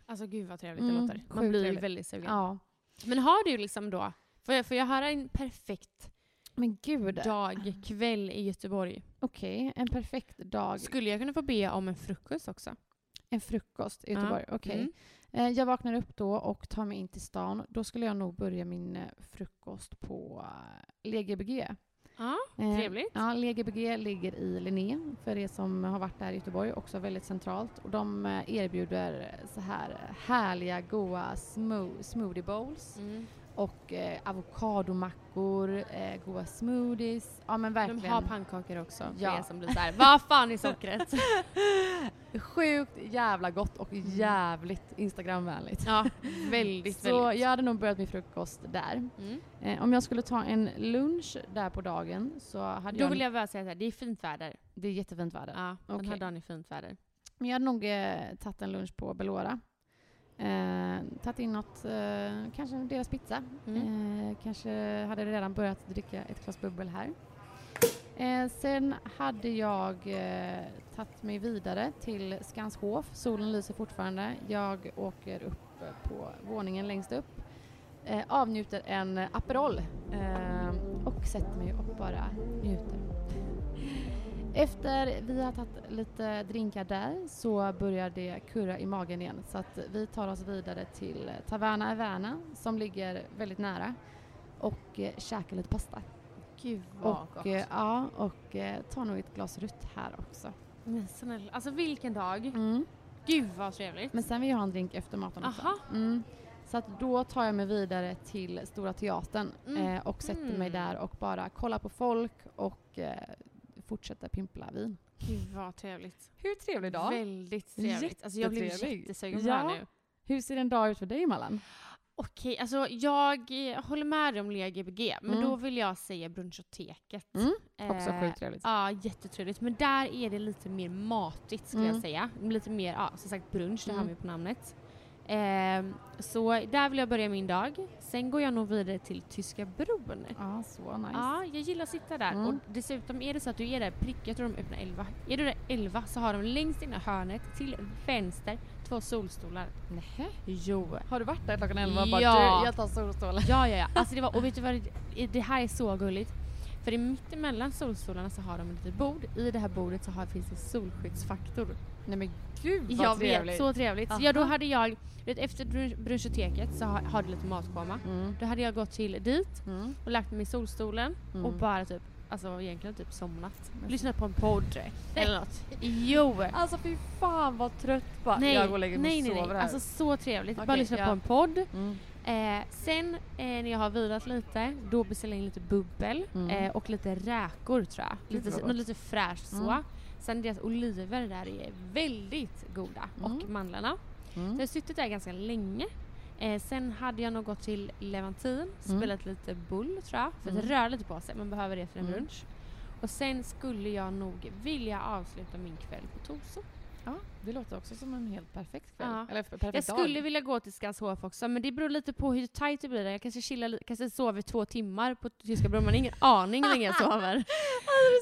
Speaker 3: Alltså gud vad trevligt
Speaker 2: Mm,
Speaker 3: det låter. Man
Speaker 2: sjukt
Speaker 3: blir ju
Speaker 2: trevligt.
Speaker 3: väldigt sugen.
Speaker 2: Ja.
Speaker 3: Men har du liksom då, får jag, får jag höra en perfekt
Speaker 2: Men gud.
Speaker 3: dag, kväll i Göteborg?
Speaker 2: Okej, en perfekt dag.
Speaker 3: Skulle jag kunna få be om en frukost också?
Speaker 2: En frukost i Göteborg. Okej.
Speaker 3: Mm.
Speaker 2: Eh, Jag vaknar upp då och tar mig in till stan. Då skulle jag nog börja min eh, frukost på eh, Legbg.
Speaker 3: Ja,
Speaker 2: Eh,
Speaker 3: trevligt.
Speaker 2: Ja, Legbg ligger i Linné för er som har varit där i Göteborg, också väldigt centralt. Och de eh, erbjuder så här eh, härliga, goa smo- smoothie bowls
Speaker 3: Mm.
Speaker 2: och eh, avokadomackor, eh, goda smoothies. Ja men verkligen.
Speaker 3: De har pannkakor också för
Speaker 2: Ja.
Speaker 3: er som blir såhär, vad fan är sockret?
Speaker 2: Sjukt jävla gott och jävligt instagramvänligt.
Speaker 3: ja, Mm. väldigt,
Speaker 2: Så
Speaker 3: väldigt.
Speaker 2: jag hade nog börjat min frukost där.
Speaker 3: Mm.
Speaker 2: Eh, om jag skulle ta en lunch där på dagen så hade
Speaker 3: Då
Speaker 2: jag...
Speaker 3: vill jag bara säga såhär, det är fint väder.
Speaker 2: Det är jättefint väder.
Speaker 3: Ja, den här
Speaker 2: Okej.
Speaker 3: dagen är fint väder.
Speaker 2: Men jag hade nog eh, tagit en lunch på Belora. Eh, tagit in något, eh, kanske deras pizza.
Speaker 3: Mm.
Speaker 2: Eh, kanske hade redan börjat dricka ett glas bubbel här. Eh, sen hade jag eh, tagit mig vidare till Skanshof. Solen lyser fortfarande. Jag åker upp eh, på våningen längst upp. Eh, avnjuter en Aperol eh, och sätter mig och bara njuter. Efter vi har tagit lite drinkar där så börjar det kurra i magen igen så att vi tar oss vidare till Taverna Evana som ligger väldigt nära och eh, käkar lite pasta.
Speaker 3: Gud
Speaker 2: Och, eh, ja, och eh, tar nog ett glas rött här också.
Speaker 3: Men snälla, alltså vilken dag.
Speaker 2: Mm.
Speaker 3: Gud vad trevligt.
Speaker 2: Men sen vill jag ha en drink efter maten också.
Speaker 3: Aha.
Speaker 2: Mm. Så att då tar jag mig vidare till Stora Teatern
Speaker 3: Mm.
Speaker 2: eh, och sätter mig
Speaker 3: Mm.
Speaker 2: där och bara kollar på folk och eh, fortsätter pimpla vin.
Speaker 3: Gud vad trevligt.
Speaker 2: Hur trevlig
Speaker 3: Väldigt trevligt. Alltså jag blev
Speaker 2: Jättetrevlig.
Speaker 3: jättesugen på det här
Speaker 2: Ja.
Speaker 3: nu.
Speaker 2: Hur ser en dag ut för dig Mallan?
Speaker 3: Okej, alltså jag eh, håller med dig om Lea Gbg, men
Speaker 2: Mm.
Speaker 3: då vill jag säga Brunchoteket.
Speaker 2: Mm,
Speaker 3: Eh,
Speaker 2: trevligt.
Speaker 3: Ja, jättetrevligt. Men där är det lite mer matigt skulle jag
Speaker 2: Mm.
Speaker 3: säga. Lite mer, ja som sagt brunch, det har
Speaker 2: Mm.
Speaker 3: man ju på namnet. Ehm, så där vill jag börja min dag. Sen går jag nog vidare till Tyska bron.
Speaker 2: Ja, ah, så nice.
Speaker 3: Ja, jag gillar att sitta där.
Speaker 2: Mm.
Speaker 3: Och dessutom är det så att du är där prick, jag tror de öppnar 11. Är du där 11 så har de längst ena hörnet till vänster två solstolar.
Speaker 2: Nähä.
Speaker 3: Jo.
Speaker 2: Har du varit där klockan elva och
Speaker 3: Ja.
Speaker 2: bara du, jag tar solstolen?
Speaker 3: Ja, ja, ja. Alltså det var, och vet du vad, det- det här är så gulligt. För i mittemellan solstolarna så har de ett litet bord. I det här bordet så har, finns det solskyddsfaktor.
Speaker 2: Nej men gud vad
Speaker 3: Jag vet,
Speaker 2: trevligt.
Speaker 3: så trevligt. Så
Speaker 2: Aha.
Speaker 3: ja, då hade jag, vet, efter brun- brunchoteket så har, har det lite matkoma.
Speaker 2: Mm.
Speaker 3: Då hade jag gått till dit
Speaker 2: Mm.
Speaker 3: och lagt mig i solstolen
Speaker 2: Mm.
Speaker 3: och bara typ, alltså egentligen typ somnat. Lyssnat på en podd eller något. Jo!
Speaker 2: Alltså fy fan vad trött bara.
Speaker 3: Nej,
Speaker 2: jag går och lägger mig
Speaker 3: nej,
Speaker 2: och
Speaker 3: nej,
Speaker 2: sover
Speaker 3: nej.
Speaker 2: här.
Speaker 3: Alltså så trevligt. Bara
Speaker 2: Okej,
Speaker 3: lyssna
Speaker 2: ja.
Speaker 3: på en podd.
Speaker 2: Mm.
Speaker 3: Eh, sen eh, när jag har vilat lite, då beställer jag in lite bubbel
Speaker 2: Mm.
Speaker 3: eh, och lite räkor tror jag.
Speaker 2: Gud,
Speaker 3: Lite,
Speaker 2: vad
Speaker 3: så-
Speaker 2: gott.
Speaker 3: något lite fräscht så.
Speaker 2: Mm.
Speaker 3: Sen deras oliver där är väldigt goda. Och
Speaker 2: Mm.
Speaker 3: mandlarna. Så
Speaker 2: Mm.
Speaker 3: jag har suttit där ganska länge. Eh, sen hade jag nog gått till Levantin, spelat lite bull tror jag. För att
Speaker 2: Mm.
Speaker 3: röra lite på sig, man behöver det för en
Speaker 2: Mm.
Speaker 3: brunch. Och sen skulle jag nog vilja avsluta min kväll på Torså.
Speaker 2: Ja, det låter också som en helt perfekt kväll.
Speaker 3: Ja.
Speaker 2: Eller perfekt
Speaker 3: Jag skulle
Speaker 2: dag.
Speaker 3: vilja gå till Skanshov också, men det beror lite på hur tajt det blir. där. Jag kanske chillar, li- kanske sover två timmar på Tyska bron. Man har ingen aning hur länge jag sover.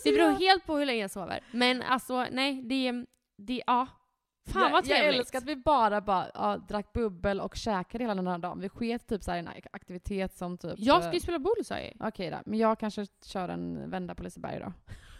Speaker 3: Det beror helt på hur länge jag sover. Men alltså, nej, det... det ja. Fan vad
Speaker 2: jag, jag
Speaker 3: trevligt.
Speaker 2: älskar att vi bara, bara ja, drack bubbel och käkade hela den här dagen. Vi sket typ så här i en ak- aktivitet som typ...
Speaker 3: Jag
Speaker 2: eh,
Speaker 3: ska ju spela boule sa jag ju.
Speaker 2: Okej då, men jag kanske kör en vända på Liseberg då.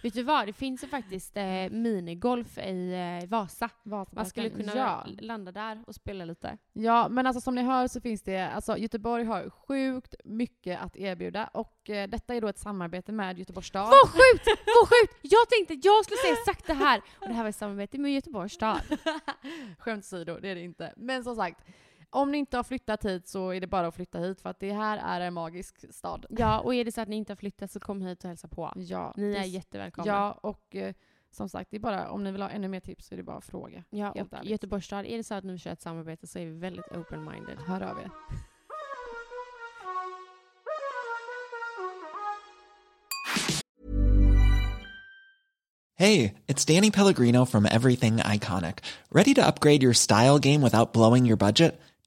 Speaker 3: Vet du vad? Det finns ju faktiskt eh, minigolf i eh, Vasa. Man
Speaker 2: Vasaparken.
Speaker 3: skulle kunna
Speaker 2: Ja.
Speaker 3: landa där och spela lite.
Speaker 2: ja, men alltså som ni hör så finns det, alltså Göteborg har sjukt mycket att erbjuda och eh, detta är då ett samarbete med Göteborgs stad.
Speaker 3: Vad sjukt! Vad sjukt! Jag tänkte att jag skulle säga exakt det här. Och det här var i samarbete med Göteborgs stad.
Speaker 2: Skämt åsido, det är det inte. Men som sagt, om ni inte har flyttat hit så är det bara att flytta hit för att det här är en magisk stad.
Speaker 3: Ja, och är det så att ni inte har flyttat så kom hit och hälsa på.
Speaker 2: Ja,
Speaker 3: Ni
Speaker 2: det-
Speaker 3: är jättevälkomna.
Speaker 2: Ja, och eh, som sagt, det är bara, om ni vill ha ännu mer tips så är det bara att fråga.
Speaker 3: Ja,
Speaker 2: Helt
Speaker 3: och
Speaker 2: ärligt.
Speaker 3: Göteborgs stad, är det så att ni kör ett samarbete så är vi väldigt open-minded.
Speaker 2: Hör av er.
Speaker 4: Hey, it's Danny Pellegrino from Everything Iconic. Ready to upgrade your style game without blowing your budget?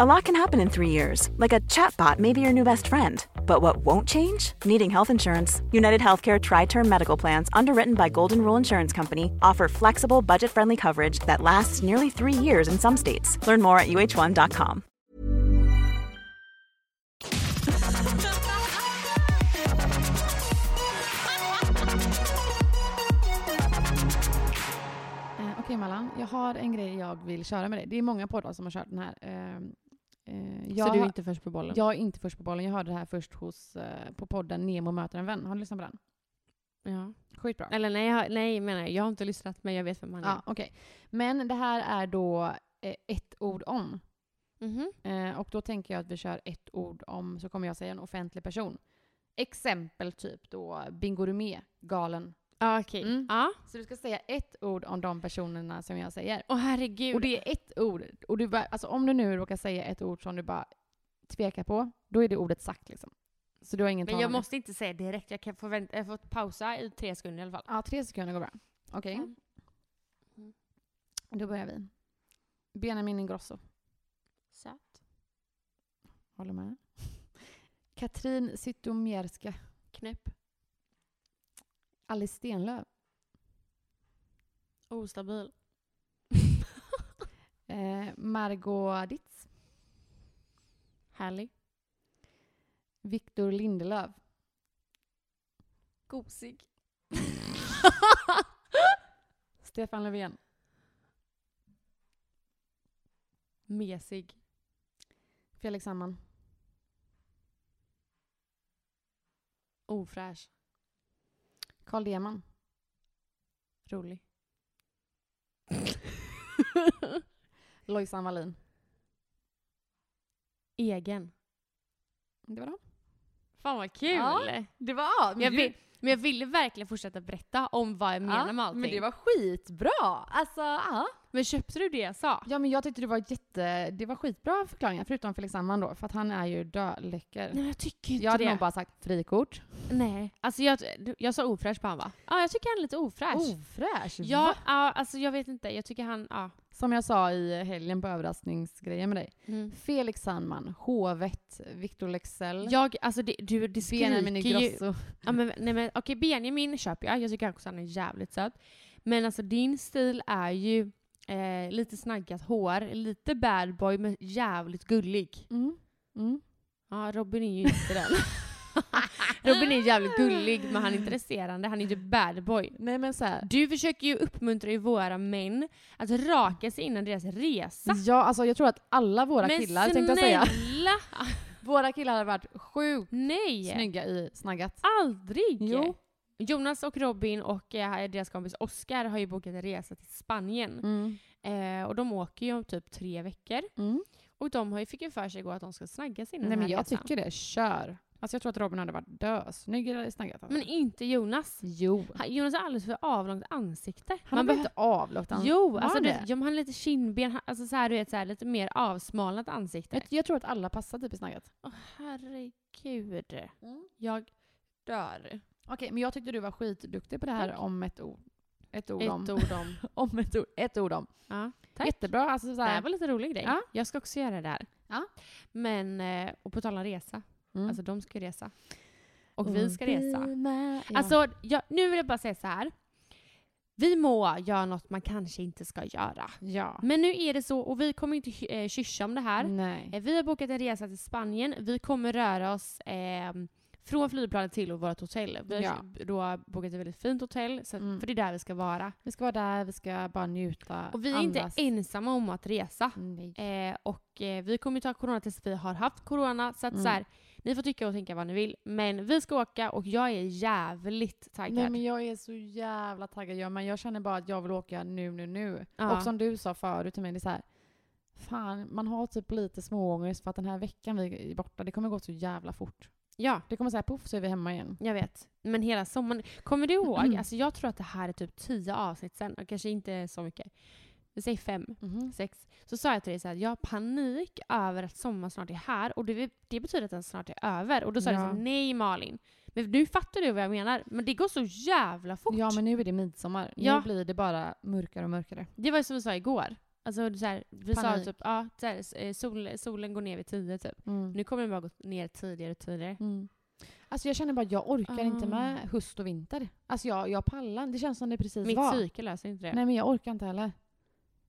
Speaker 5: A lot can happen in three years, like a chatbot may be your new best friend. But what won't change? Needing health insurance. United Healthcare Tri Term Medical Plans, underwritten by Golden Rule Insurance Company, offer flexible, budget friendly coverage that lasts nearly three years in some states. Learn more at uh1.com.
Speaker 2: Eh, Okej Malan, jag har en grej jag vill köra med dig. Det är många poddar som har kört den här. Eh, eh, jag,
Speaker 3: så du är
Speaker 2: har-
Speaker 3: inte först på bollen.
Speaker 2: jag är inte först på bollen. Jag hörde det här först hos, eh, på podden Nemo möter en vän. Har du lyssnat på den?
Speaker 3: Ja.
Speaker 2: Skitbra.
Speaker 3: Eller nej, jag, har- nej menar jag. Jag har inte lyssnat men jag vet vem han är.
Speaker 2: Ja, okej. Men det här är då eh, ett ord om.
Speaker 3: Mhm.
Speaker 2: Eh, och då tänker jag att vi kör ett ord om, så kommer jag säga en offentlig person. Exempel typ då Bingo Rimér, galen.
Speaker 3: Ja, okej.
Speaker 2: Mm.
Speaker 3: Ja.
Speaker 2: Så du ska säga ett ord om de personerna som jag säger.
Speaker 3: Åh herregud.
Speaker 2: Och det är ett ord. Och du bara, alltså om du nu råkar säga ett ord som du bara tvekar på, då är det ordet sagt liksom. Så du har ingen
Speaker 3: men jag
Speaker 2: talan.
Speaker 3: måste inte säga direkt. Jag kan få, vänta, jag får pausa i tre sekunder i alla fall.
Speaker 2: Ja, tre sekunder går bra. Okej.
Speaker 3: Mm.
Speaker 2: Då börjar vi. Benjamin Ingrosso.
Speaker 3: Söt.
Speaker 2: Håller med. Katrin Zytomierska.
Speaker 3: Knäpp.
Speaker 2: Alice Stenlöf.
Speaker 3: Ostabil.
Speaker 2: Eh, Margot Ditz.
Speaker 3: Härlig.
Speaker 2: Viktor Lindelöf.
Speaker 3: Gosig.
Speaker 2: Stefan Löfven.
Speaker 3: Mesig.
Speaker 2: Felix Sandman.
Speaker 3: Ofräsch.
Speaker 2: Carl Deman.
Speaker 3: Rolig.
Speaker 2: Lojsan Wallin.
Speaker 3: Egen.
Speaker 2: Det var dem.
Speaker 3: Fan vad kul!
Speaker 2: Ja, det var
Speaker 3: Men jag, vill, men jag ville verkligen fortsätta berätta om vad jag menar med allting.
Speaker 2: Men det var skitbra! Alltså, ja.
Speaker 3: Men köpte du det jag sa?
Speaker 2: Ja men jag tyckte det var jätte, det var skitbra förklaringar förutom Felix Sandman då för att han är ju
Speaker 3: Nej
Speaker 2: dödläcker.
Speaker 3: men jag tycker inte
Speaker 2: Jag hade
Speaker 3: det.
Speaker 2: nog bara sagt frikort.
Speaker 3: Nej. Alltså jag, jag sa ofräsch på han va? Ja, jag tycker han är lite ofräsch.
Speaker 2: Ofräsch!
Speaker 3: ja,
Speaker 2: va?
Speaker 3: ja, alltså jag vet inte. Jag tycker han, ja.
Speaker 2: Som jag sa i helgen på överraskningsgrejen med dig.
Speaker 3: Mm.
Speaker 2: Felix Sandman, hovet, Victor Lexell,
Speaker 3: Jag, alltså det, du, det
Speaker 2: Benjamin
Speaker 3: skriker ju-
Speaker 2: Ingrosso.
Speaker 3: Ja, men, nej, men, okej, Benjamin köper jag. Jag tycker också han är jävligt söt. Men alltså din stil är ju eh, lite snaggat hår, lite bad boy men jävligt gullig.
Speaker 2: Mm. Mm.
Speaker 3: Ja, Robin är ju inte den. Robin är jävligt gullig men han är inte resterande. Han är ju typ bad boy.
Speaker 2: Nej men såhär.
Speaker 3: Du försöker ju uppmuntra ju våra män att raka sig innan deras resa.
Speaker 2: Ja alltså jag tror att alla våra
Speaker 3: men
Speaker 2: killar tänkte jag säga.
Speaker 3: snälla!
Speaker 2: Våra killar hade varit sjukt
Speaker 3: Nej! Ah.
Speaker 2: snygga i snaggat.
Speaker 3: Aldrig!
Speaker 2: Jo.
Speaker 3: Jonas och Robin och eh, deras kompis Oskar har ju bokat en resa till Spanien.
Speaker 2: Mm.
Speaker 3: Eh, och de åker ju om typ tre veckor.
Speaker 2: Mm.
Speaker 3: Och de har ju fick ju för sig igår att de ska snagga sig innan
Speaker 2: Nej
Speaker 3: den
Speaker 2: men
Speaker 3: här
Speaker 2: jag
Speaker 3: resan.
Speaker 2: tycker det, kör. Alltså jag tror att Robin hade varit dösnygg eller snaggat alltså.
Speaker 3: Men inte Jonas.
Speaker 2: Jo.
Speaker 3: Han- Jonas har alldeles för avlångt ansikte.
Speaker 2: Han hade
Speaker 3: behö-
Speaker 2: väl inte avlångt han-
Speaker 3: Jo,
Speaker 2: Var
Speaker 3: alltså
Speaker 2: han
Speaker 3: du,
Speaker 2: det?
Speaker 3: ja, men han har lite kindben, han- alltså så här, du vet, så här, lite mer avsmalnat ansikte.
Speaker 2: jag, jag tror att alla passar typ i snaggat.
Speaker 3: Åh herregud. Jag dör.
Speaker 2: Okej, men jag tyckte du var skitduktig på det här
Speaker 3: Tack.
Speaker 2: om ett ord. Ett ord om.
Speaker 3: Ett ord om.
Speaker 2: om ett ord. Ett ord om.
Speaker 3: Ja, tack.
Speaker 2: Jättebra. Alltså så
Speaker 3: Det här
Speaker 2: här.
Speaker 3: var lite rolig grej.
Speaker 2: Ja.
Speaker 3: Jag ska också göra det här.
Speaker 2: Ja.
Speaker 3: Men, eh, och på tal om resa.
Speaker 2: Mm.
Speaker 3: Alltså de ska ju resa. Och vi ska resa.
Speaker 2: Ja.
Speaker 3: Alltså, jag, nu vill jag bara säga så här. Vi må göra något man kanske inte ska göra.
Speaker 2: ja.
Speaker 3: Men nu är det så, och vi kommer inte hy- eh, kyrsa om det här.
Speaker 2: Nej.
Speaker 3: Eh, Vi har bokat en resa till Spanien. Vi kommer röra oss eh, från flygplanet till vårt hotell. Vi har
Speaker 2: Ja.
Speaker 3: då bokat ett väldigt fint hotell, så att,
Speaker 2: Mm.
Speaker 3: för det är där vi ska vara.
Speaker 2: Vi ska vara där, vi ska bara njuta.
Speaker 3: Och vi är inte
Speaker 2: andas.
Speaker 3: ensamma om att resa.
Speaker 2: Nej.
Speaker 3: Eh, och eh, vi kommer ju ta corona tills vi har haft corona. Så att
Speaker 2: Mm.
Speaker 3: så här, ni får tycka och tänka vad ni vill. Men vi ska åka och jag är jävligt taggad.
Speaker 2: Nej men jag är så jävla taggad jag men jag känner bara att jag vill åka nu, nu, nu.
Speaker 3: Ja.
Speaker 2: Och som du sa förut till mig, det är så här. Fan, man har typ lite småångest för att den här veckan vi är borta, det kommer gå så jävla fort.
Speaker 3: Ja,
Speaker 2: Det kommer säga poff så är vi hemma igen.
Speaker 3: jag vet. Men hela sommaren. Kommer du ihåg? Alltså jag tror att det här är typ tio avsnitt sen. Och kanske inte så mycket. Vi säger fem.
Speaker 2: Mhm. Mm-hmm.
Speaker 3: sex, så sa jag till dig så här, jag har panik över att sommaren snart är här och det, det betyder att den snart är över. Och då sa
Speaker 2: Ja.
Speaker 3: du så här, nej Malin. Men nu fattar du vad jag menar. Men det går så jävla fort.
Speaker 2: Ja men nu är det midsommar.
Speaker 3: Ja.
Speaker 2: Nu blir det bara mörkare och mörkare.
Speaker 3: Det var ju som vi sa igår. Alltså så här, vi
Speaker 2: Panik.
Speaker 3: sa typ, ja, så här, eh, sol, solen går ner vid tio typ.
Speaker 2: Mm.
Speaker 3: Nu kommer den bara gå ner tidigare och tidigare.
Speaker 2: Mm. Alltså jag känner bara att jag orkar inte
Speaker 3: Ah.
Speaker 2: med höst och vinter. Alltså jag, jag pallar Det känns som det precis
Speaker 3: Mitt
Speaker 2: var.
Speaker 3: psyke löser inte det.
Speaker 2: Nej men jag orkar inte heller.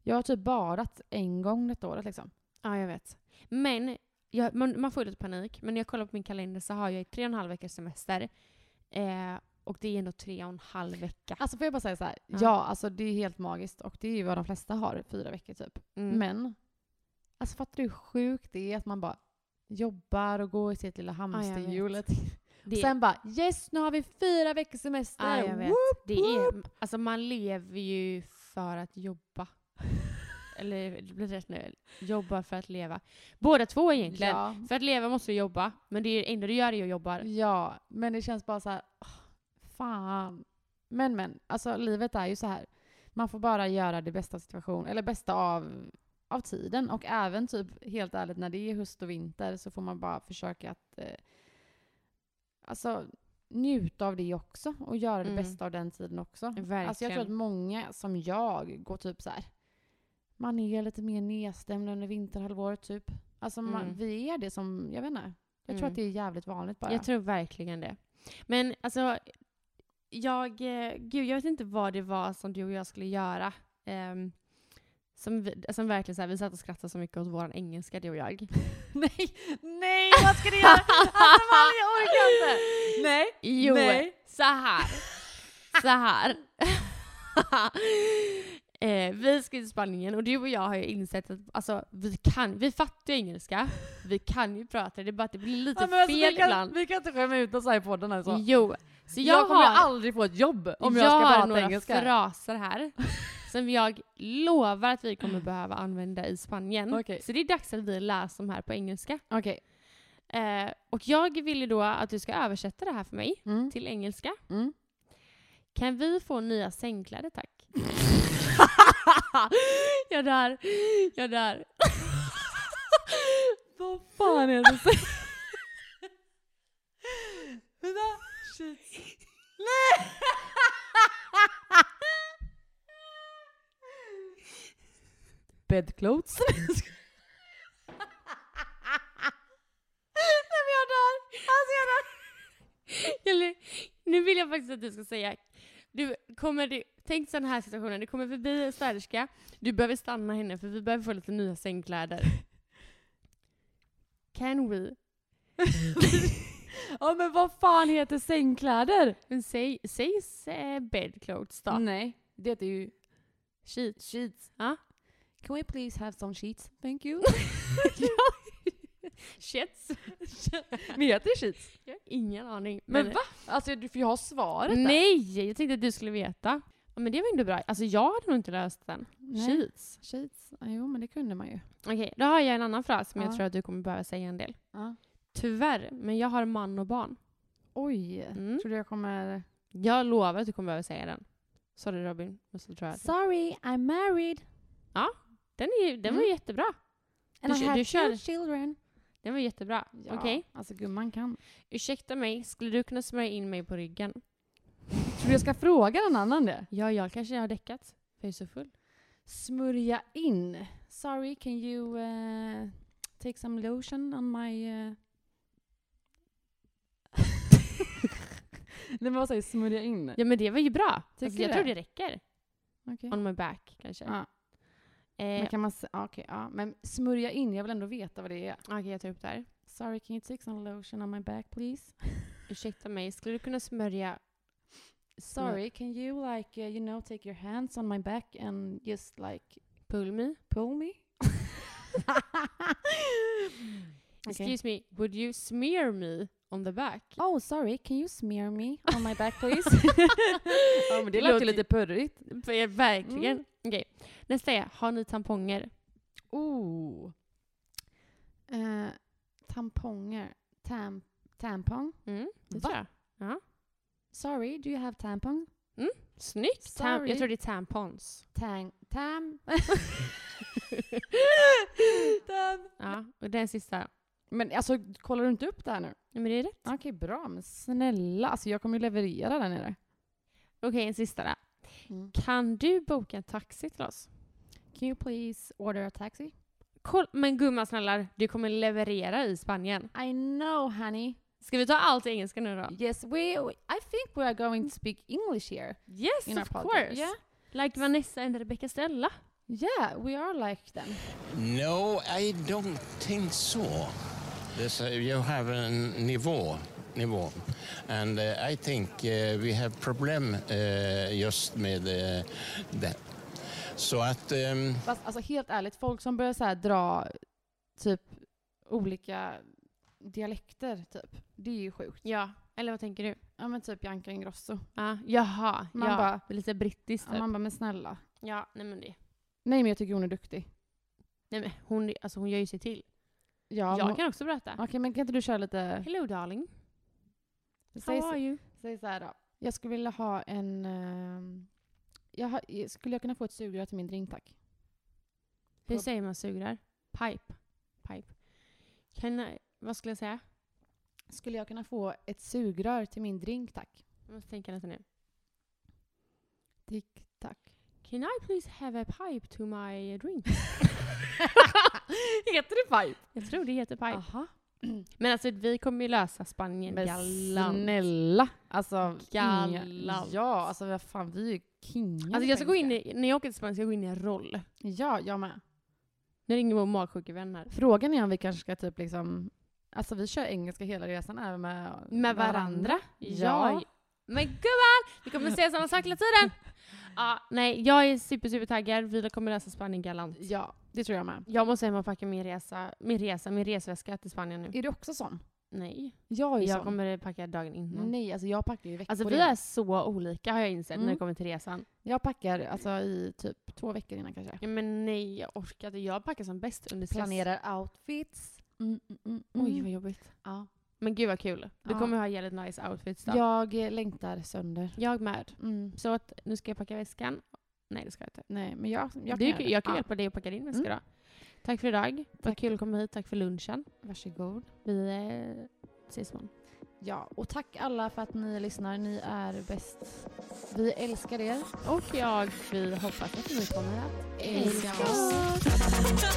Speaker 2: Jag har typ badat en gång detta året liksom.
Speaker 3: Ja, jag vet. Men jag, man, man får ju lite panik. Men när jag kollar på min kalender så har jag ju tre och en halv veckors semester. Eh, och det är ändå tre och en halv vecka.
Speaker 2: Alltså får jag bara säga så här.
Speaker 3: Ja.
Speaker 2: Ja. alltså det är helt magiskt och det är ju vad de flesta har, fyra veckor typ.
Speaker 3: Mm.
Speaker 2: Men, alltså fattar du hur sjukt det är att man bara jobbar och går i sitt lilla hamsterhjulet.
Speaker 3: Det-
Speaker 2: Sen bara yes, nu har vi fyra veckors semester!
Speaker 3: Ja, jag vet.
Speaker 2: Woop,
Speaker 3: Det är,
Speaker 2: woop.
Speaker 3: alltså man lever ju för att jobba. Eller det blir rätt nu. Jobba för att leva. Båda två egentligen.
Speaker 2: Ja.
Speaker 3: För att leva måste du jobba, men det är det enda du gör är att jobba.
Speaker 2: ja, men det känns bara så här, åh, fan. Men men, alltså livet är ju så här. Man får bara göra det bästa av situationen, eller bästa av, av tiden. Och även typ, helt ärligt, när det är höst och vinter så får man bara försöka att eh, alltså, njuta av det också. Och göra det
Speaker 3: Mm.
Speaker 2: bästa av den tiden också.
Speaker 3: Verkligen.
Speaker 2: Alltså jag tror att många som jag går typ så här. Man är lite mer nedstämd under vinterhalvåret typ. Alltså man,
Speaker 3: Mm.
Speaker 2: vi är det som, jag vet inte. Jag tror
Speaker 3: Mm.
Speaker 2: att det är jävligt vanligt bara.
Speaker 3: Jag tror verkligen det. Men alltså, jag, eh, gud, jag vet inte vad det var som du och jag skulle göra. ehm, som, vi, som verkligen så här, vi satt och skrattade så mycket åt vår engelska, du och jag.
Speaker 2: Nej, nej vad ska du göra? Alltså Malin jag orkar inte! Nej,
Speaker 3: Jo,
Speaker 2: Nej.
Speaker 3: så här. Så här. eh, vi ska till Spanien och du och jag har ju insett att alltså, vi kan, vi fattar ju engelska, vi kan ju prata, det är bara att det blir lite
Speaker 2: Ja, men
Speaker 3: fel
Speaker 2: alltså, vi, kan,
Speaker 3: ibland.
Speaker 2: vi kan inte skämma ut oss här i podden alltså. Jag,
Speaker 3: Jo, så jag,
Speaker 2: kommer
Speaker 3: har,
Speaker 2: aldrig få ett jobb om jag,
Speaker 3: har
Speaker 2: ska prata
Speaker 3: några
Speaker 2: engelska.
Speaker 3: fraser här som jag lovar att vi kommer behöva använda i Spanien.
Speaker 2: Okej.
Speaker 3: Så det är dags att vi läser de här på engelska.
Speaker 2: Okej.
Speaker 3: Eh, och jag vill ju då att du ska översätta det här för mig
Speaker 2: Mm.
Speaker 3: till engelska.
Speaker 2: Mm.
Speaker 3: Kan vi få nya sängkläder tack? jag dör. Jag dör.
Speaker 2: Vad fan är det som... Vänta, shit. Nej! Bedclothes.
Speaker 3: Nej men jag dör. Alltså jag dör. Eller, nu vill jag faktiskt att du ska säga. Du kommer, du, tänk sån här situationen. Du kommer förbi en städerska. Du behöver stanna henne för vi behöver få lite nya sängkläder. Can we?
Speaker 2: Ja men vad fan heter sängkläder?
Speaker 3: Men säg, säg eh, bedclothes då.
Speaker 2: Nej, det heter ju
Speaker 3: Sheet.
Speaker 2: sheets.
Speaker 3: Ja.
Speaker 2: Can we please have some sheets? Thank you.
Speaker 3: Shits.
Speaker 2: Men heter det sheets?
Speaker 3: Jag har ingen aning.
Speaker 2: Men va? Alltså du får ju ha svaret där.
Speaker 3: Nej! Jag tänkte att du skulle veta. Ja, men det var inte bra. Alltså jag hade nog inte löst den.
Speaker 2: Nej.
Speaker 3: Sheets.
Speaker 2: Sheets. Ja, jo, men det kunde man ju.
Speaker 3: Okej, då har jag en annan fras som
Speaker 2: Ja.
Speaker 3: jag tror att du kommer behöva säga en del.
Speaker 2: Ja.
Speaker 3: Tyvärr, men jag har man och barn.
Speaker 2: Oj.
Speaker 3: Mm.
Speaker 2: Tror du jag kommer...
Speaker 3: Jag lovar att du kommer behöva säga den. Sorry Robin, men så tror jag att-
Speaker 2: Sorry, I'm married.
Speaker 3: Den, är, ju- den var
Speaker 2: Mm.
Speaker 3: jättebra.
Speaker 2: And
Speaker 3: Du
Speaker 2: I
Speaker 3: kö-
Speaker 2: have
Speaker 3: du
Speaker 2: two
Speaker 3: kör-
Speaker 2: children.
Speaker 3: Den var jättebra.
Speaker 2: Ja,
Speaker 3: Okej.
Speaker 2: Alltså gumman kan.
Speaker 3: Ursäkta mig, skulle du kunna smörja in mig på ryggen?
Speaker 2: Tror du jag ska fråga någon annan det?
Speaker 3: Ja, jag kanske har däckat. För jag är så full.
Speaker 2: Smörja in. Sorry, can you eh, take some lotion on my... eh? Nej men vad säger smörja in?
Speaker 3: Ja men det var ju bra.
Speaker 2: Tycker
Speaker 3: Alltså,
Speaker 2: du
Speaker 3: jag tror
Speaker 2: det?
Speaker 3: det räcker.
Speaker 2: Okej.
Speaker 3: On my back kanske.
Speaker 2: Ja.
Speaker 3: Eh,
Speaker 2: Men kan man... s- ja, Okej, ja. Men smörja in, jag vill ändå veta vad det är.
Speaker 3: Okej, jag tar upp det här.
Speaker 2: Sorry, can you take some lotion on my back please?
Speaker 3: Ursäkta mig, skulle du kunna smörja...
Speaker 2: Mm. Sorry, can you like, eh, you know, take your hands on my back and just like
Speaker 3: Pull me?
Speaker 2: pull me?
Speaker 3: Excuse me, would you smear me on the back?
Speaker 2: Oh, sorry, can you smear me on my back please? ja, men det lät ju
Speaker 3: Låter-
Speaker 2: lite purrigt.
Speaker 3: Ver- Verkligen.
Speaker 2: Mm.
Speaker 3: Okej. Nästa är, har ni tamponger?
Speaker 2: Oh. Eh, tamponger. Tam tampong?
Speaker 3: Mm, det
Speaker 2: Va?
Speaker 3: tror jag.
Speaker 2: Sorry, do you have tampon?
Speaker 3: Snyggt! Tam-
Speaker 2: Sorry.
Speaker 3: jag tror det är tampons.
Speaker 2: Tang tam. tam.
Speaker 3: Ja, och den sista.
Speaker 2: Men alltså, kollar du inte upp det här nu?
Speaker 3: Ja, men det är rätt.
Speaker 2: Okej, bra. Men snälla, alltså jag kommer ju leverera där nere.
Speaker 3: Okej, en sista då. Mm. Kan du boka en taxi till oss?
Speaker 2: Can you please order a taxi?
Speaker 3: Koll- men gumman snälla, du kommer leverera i Spanien.
Speaker 2: I know, honey.
Speaker 3: Ska vi ta allt i engelska nu då?
Speaker 2: Yes, we, we- I think we are going to speak English here.
Speaker 3: Yes,
Speaker 2: In our
Speaker 3: of
Speaker 2: podcast.
Speaker 3: course!
Speaker 2: Yeah.
Speaker 3: Like Vanessa and Rebecca Stella.
Speaker 2: Yeah, we are like them.
Speaker 6: No, I don't think so. This, uh, you have a niveau, niveau. and uh, I think uh, we have problem uh, just med uh, that. Så att ehm,
Speaker 2: Fast alltså helt ärligt, folk som börjar så här dra typ olika dialekter typ. Det är ju sjukt.
Speaker 3: Ja, eller vad tänker du?
Speaker 2: Ja men typ Bianca Ingrosso.
Speaker 3: Ja, jaha,
Speaker 2: Man
Speaker 3: ja.
Speaker 2: bara-
Speaker 3: lite brittiskt
Speaker 2: Ja,
Speaker 3: typ.
Speaker 2: man bara, men snälla.
Speaker 3: Ja, nej men det.
Speaker 2: Nej men jag tycker hon är duktig.
Speaker 3: Nej men hon, alltså, hon gör ju sig till.
Speaker 2: Ja,
Speaker 3: jag
Speaker 2: men-
Speaker 3: kan också prata.
Speaker 2: Okej men kan inte du köra lite...
Speaker 3: Hello darling,
Speaker 2: Säg,
Speaker 3: how are you?
Speaker 2: säg så här då. Jag skulle vilja ha en... ehm, jag har, skulle jag kunna få ett sugrör till min drink tack?
Speaker 3: Hur
Speaker 2: Pub.
Speaker 3: säger man sugrör? Pipe. Pipe. Can I, vad skulle jag säga?
Speaker 2: Skulle jag kunna få ett sugrör till min drink tack?
Speaker 3: Jag måste tänka lite nu.
Speaker 2: Tick tack.
Speaker 3: Can I please have a pipe to my drink? heter det pipe? Jag tror det heter pipe.
Speaker 2: Aha.
Speaker 3: Men alltså vi kommer ju lösa Spanien
Speaker 2: Men
Speaker 3: galant.
Speaker 2: snälla! Alltså,
Speaker 3: Galant.
Speaker 2: inga- Ja, alltså vad fan vi är ju kingar
Speaker 3: Alltså jag ska
Speaker 2: på
Speaker 3: gå in
Speaker 2: engelska.
Speaker 3: i, när jag åker till Spanien ska jag gå in i en roll.
Speaker 2: Ja, jag med.
Speaker 3: Nu ringer vår magsjuke vän här.
Speaker 2: Frågan är om vi kanske ska typ liksom... Alltså vi kör engelska hela resan även med,
Speaker 3: Med varandra?
Speaker 2: Ja.
Speaker 3: Men gumman! Vi kommer säga samma sak hela tiden! Ja, nej, jag är super, super taggad. Vi kommer lösa Spanien galant.
Speaker 2: Ja, det tror jag med.
Speaker 3: Jag måste hem och packa min resa, min resa, min resväska till Spanien nu.
Speaker 2: Är du också sån?
Speaker 3: Nej.
Speaker 2: Jag är
Speaker 3: Jag
Speaker 2: sån.
Speaker 3: kommer packa dagen innan.
Speaker 2: Nej, alltså jag packar ju i veckor
Speaker 3: Alltså vi
Speaker 2: innan.
Speaker 3: är så olika har jag insett när
Speaker 2: Mm.
Speaker 3: det kommer till resan.
Speaker 2: Jag packar alltså i typ två veckor innan kanske.
Speaker 3: Ja, men nej, jag orkar inte. Jag packar som bäst under stress.
Speaker 2: Planerar outfits. Mm, mm, mm, mm.
Speaker 3: Oj, vad jobbigt.
Speaker 2: ja.
Speaker 3: Men gud vad kul. Du
Speaker 2: Ja.
Speaker 3: kommer ha jävligt nice outfits då.
Speaker 2: Jag eh, längtar sönder.
Speaker 3: Jag med.
Speaker 2: Mm.
Speaker 3: Så att nu ska jag packa väskan. Nej, det ska jag inte.
Speaker 2: Nej, Eh, men jag, jag kan
Speaker 3: Jag kan,
Speaker 2: göra
Speaker 3: du,
Speaker 2: det.
Speaker 3: jag kan
Speaker 2: Ja.
Speaker 3: hjälpa dig att packa din väska
Speaker 2: Mm.
Speaker 3: då. Tack för idag. Vad
Speaker 2: Tack.
Speaker 3: kul att komma hit. Tack för lunchen.
Speaker 2: Varsågod.
Speaker 3: Vi eh, ses imorgon.
Speaker 2: Ja, och tack alla för att ni lyssnar. Ni är bäst. Vi älskar er.
Speaker 3: Och jag vi hoppas att ni kommer att
Speaker 1: Älska oss.